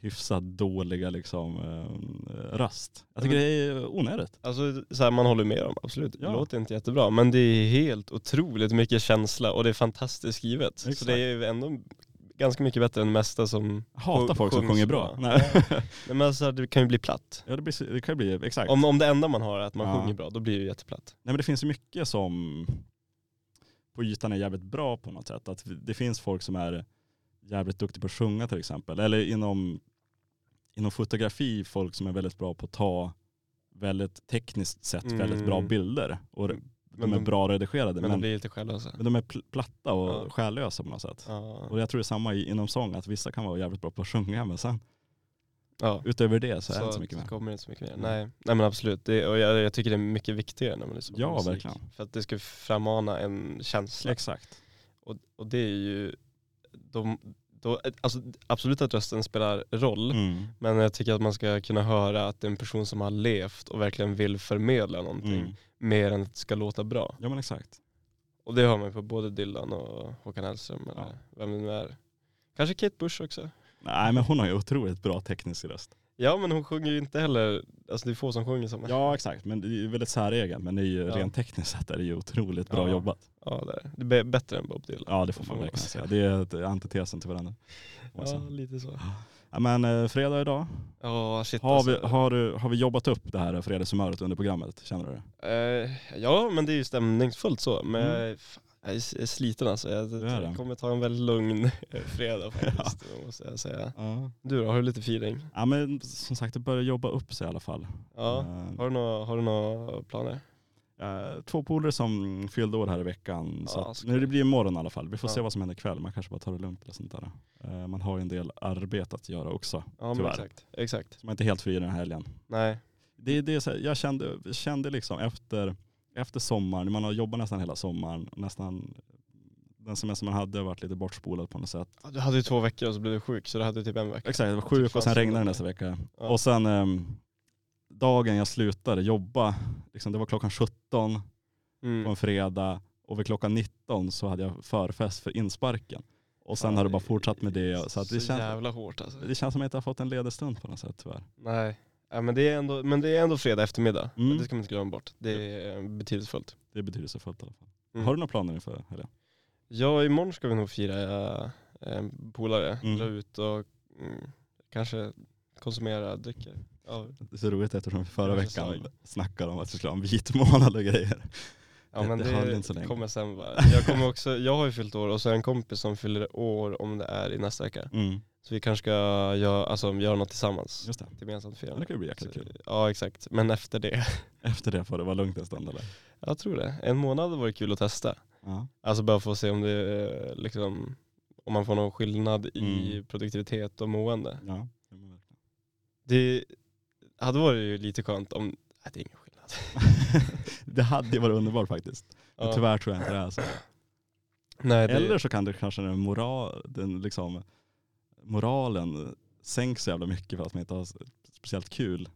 S1: hyfsat dåliga liksom, eh, röst. Jag tycker
S2: Men-
S1: det är onödigt.
S2: Alltså så här, man håller med om, absolut.
S1: Ja.
S2: Det låter inte jättebra. Men det är helt otroligt mycket känsla och det är fantastiskt skrivet. Så
S1: Exakt.
S2: det är ju ändå ganska mycket bättre än det mesta som,
S1: Jag hatar
S2: Sjung-
S1: folk som
S2: sjungs
S1: sjunger
S2: bra.
S1: bra. Nej.
S2: nej men alltså det kan ju bli platt.
S1: ja, det, blir, det kan ju bli, exakt.
S2: Om, om det enda man har är att man
S1: Ja.
S2: sjunger bra, då blir det ju jätteplatt.
S1: Nej men det finns ju mycket som på ytan är jävligt bra på något sätt. Att det finns folk som är jävligt duktiga på att sjunga till exempel. Eller inom, inom fotografi folk som är väldigt bra på att ta väldigt tekniskt sett
S2: Mm.
S1: väldigt bra bilder. Och de
S2: Men
S1: är
S2: de-
S1: bra redigerade
S2: Men
S1: men,
S2: de
S1: men,
S2: blir lite alltså. själlösa.
S1: de är pl- platta och
S2: Ja.
S1: själlösa på något sätt.
S2: Ja.
S1: Och jag tror det är samma i- inom sång, att vissa kan vara jävligt bra på att sjunga men sen
S2: ja.
S1: utöver det så, är det inte så mycket
S2: det
S1: mer. Mm.
S2: kommer inte så mycket mer. Nej, nej men absolut. Det, och jag, jag tycker det är mycket viktigare när man lyssnar på
S1: Ja,
S2: musik.
S1: verkligen.
S2: För att det ska frammana en känsla.
S1: Exakt.
S2: Och, och det är ju, de, då, alltså, absolut att rösten spelar roll,
S1: Mm.
S2: men jag tycker att man ska kunna höra att det är en person som har levt och verkligen vill förmedla någonting
S1: Mm.
S2: mer än att det ska låta bra.
S1: Ja men exakt.
S2: Och det hör man ju på både Dylan och Håkan Hellström eller
S1: Ja.
S2: vem det nu är. Kanske Kate Bush också.
S1: Nej men hon har ju otroligt bra teknisk röst.
S2: Ja men hon sjunger ju inte heller, alltså det är få som sjunger som
S1: Ja exakt, men det är ju väldigt säregen. Men det är ju
S2: Ja.
S1: rent tekniskt sett är det ju otroligt bra
S2: Ja.
S1: jobbat.
S2: Ja, det är, det är bättre än Bob Dylan.
S1: Ja det får man
S2: man
S1: verkligen
S2: säga.
S1: säga. Det är ett- antitesen till varandra.
S2: Ja, lite så.
S1: Ja, men eh, fredag idag.
S2: Ja, shit
S1: Har
S2: alltså.
S1: vi, har, du, har vi jobbat upp det här fredagshumöret under programmet? Känner du det?
S2: Eh, ja, men det är ju stämningsfullt så. Men jag är- fan, jag är s- jag är sliten alltså. Jag
S1: Mm. Det är det.
S2: kommer ta en väldigt lugn eh, fredag faktiskt, måste jag säga.
S1: Ja.
S2: Du då, har du lite feeling?
S1: ja men som sagt det börjar jobba upp sig i alla fall.
S2: Ja.
S1: Eh,
S2: Har du några, har du några planer?
S1: Eh, två polare som fyllde år här i veckan. så
S2: Ja,
S1: att,
S2: ska
S1: nu det blir imorgon i alla fall. Vi får
S2: Ja.
S1: se vad som händer ikväll. Man kanske bara tar det lugnt eller sånt där. Eh, man har ju en del arbete att göra också.
S2: Ja, men
S1: Tyvärr.
S2: exakt. Exakt.
S1: Så man är inte helt fri den här helgen.
S2: Nej.
S1: Det, det är så här, jag kände, kände liksom efter, efter sommaren, man har jobbat nästan hela sommaren, nästan den semester man hade har varit lite bortspolad på något sätt.
S2: Ja, Du hade ju två veckor och så blev du sjuk, så du hade typ en vecka.
S1: Exakt, jag var sjuk och sen
S2: fanns det
S1: regnade det
S2: något.
S1: nästa vecka.
S2: Ja.
S1: Och sen ehm, dagen jag slutade jobba, liksom, det var klockan 17 på
S2: Mm.
S1: en fredag och vid klockan 19 så hade jag förfest för insparken. Och sen
S2: Ja,
S1: har det bara fortsatt med det. Så att det,
S2: så
S1: känns,
S2: jävla hårt alltså.
S1: det känns som att jag inte har fått en ledig stund på något sätt tyvärr.
S2: Nej. Ja, men, det är ändå, men det är ändå fredag eftermiddag.
S1: Mm.
S2: Det ska man inte glömma bort. Det är eh, betydelsefullt.
S1: Det är betydelsefullt i alla fall.
S2: Mm.
S1: Har du några planer inför helgen?
S2: Ja, imorgon ska vi nog fira eh, en polare.
S1: Mm.
S2: Dra ut och mm, kanske konsumera drycker. Ja,
S1: Det är så roligt eftersom vi förra
S2: Kanske
S1: veckan
S2: slag.
S1: snackade om att vi skulle ha en vit månad och grejer.
S2: ja
S1: Det-
S2: men
S1: det
S2: det,
S1: höll inte så länge.
S2: kommer sen bara. Jag, kommer också, jag har ju fyllt år och så är jag en kompis som fyller år om det är i nästa vecka.
S1: Mm.
S2: Så vi kanske ska göra, alltså, göra något tillsammans.
S1: Just det.
S2: Gemensamt
S1: Ja,
S2: firande.
S1: det kan ju bli jäkligt kul.
S2: Ja exakt, men efter det.
S1: Efter det får det vara lugnt en stund eller?
S2: Jag tror det. En månad var kul att testa.
S1: Ja.
S2: Alltså bara för att se om det eh, liksom, om man får någon skillnad i
S1: Mm.
S2: produktivitet och mående.
S1: ja. det må verkligen.
S2: Det hade varit ju lite skönt om, nej det är ingen skillnad.
S1: det hade ju varit underbart faktiskt. Men
S2: Ja.
S1: tyvärr tror jag inte det är så.
S2: Nej, det,
S1: Eller så kan det kanske den, moral, den liksom, moralen sänks så jävla mycket för att man inte har speciellt kul.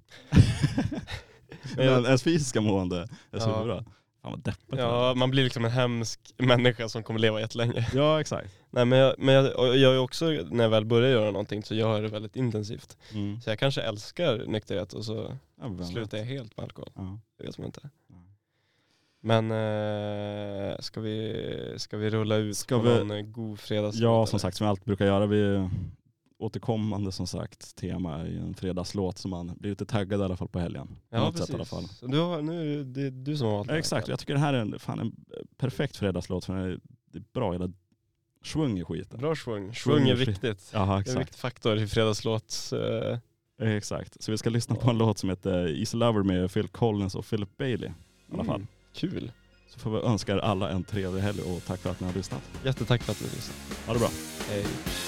S1: Men
S2: jag-
S1: ens fysiska mående är så
S2: Ja.
S1: bra. Fan vad deppigt. det är.
S2: Ja, man blir liksom en hemsk människa som kommer leva jättelänge.
S1: ja exakt.
S2: Nej men jag, men jag, och jag är också, när jag väl börjar göra någonting så gör jag det väldigt intensivt.
S1: Mm.
S2: Så jag kanske älskar nykterhet och så
S1: Ja, vem vet. Mm.
S2: slutar jag helt med alkohol.
S1: Ja.
S2: Det vet man inte.
S1: Nej.
S2: Men eh, ska, vi, ska vi rulla ut
S1: Ska
S2: på
S1: vi-
S2: någon eh, god fredagslåt?
S1: ja
S2: eller?
S1: som sagt som jag alltid brukar göra. Vi återkommande som sagt tema är ju en fredagslåt som man blir lite taggad i alla fall på helgen. På
S2: Ja
S1: något
S2: precis.
S1: sätt i alla fall.
S2: Du har, nu är det- det är du som har valt den
S1: Ja,
S2: här.
S1: exakt, jag tycker det här är en, fan, en perfekt fredagslåt för den är, det är bra jävla svung i skiten.
S2: Bra svung.
S1: Schwung
S2: Svung
S1: är
S2: är
S1: fri-
S2: viktigt.
S1: Ja
S2: Det är en
S1: exakt.
S2: viktig faktor i fredagslåts... Eh,
S1: Eh, Exakt, så vi ska lyssna på en låt som heter Easy Lover med Phil Collins och Philip Bailey. I alla fall.
S2: Mm, kul.
S1: Så får vi önska er alla en trevlig helg och tack för att ni har lyssnat.
S2: Jättetack för att du lyssnade.
S1: Ha det bra.
S2: Hej.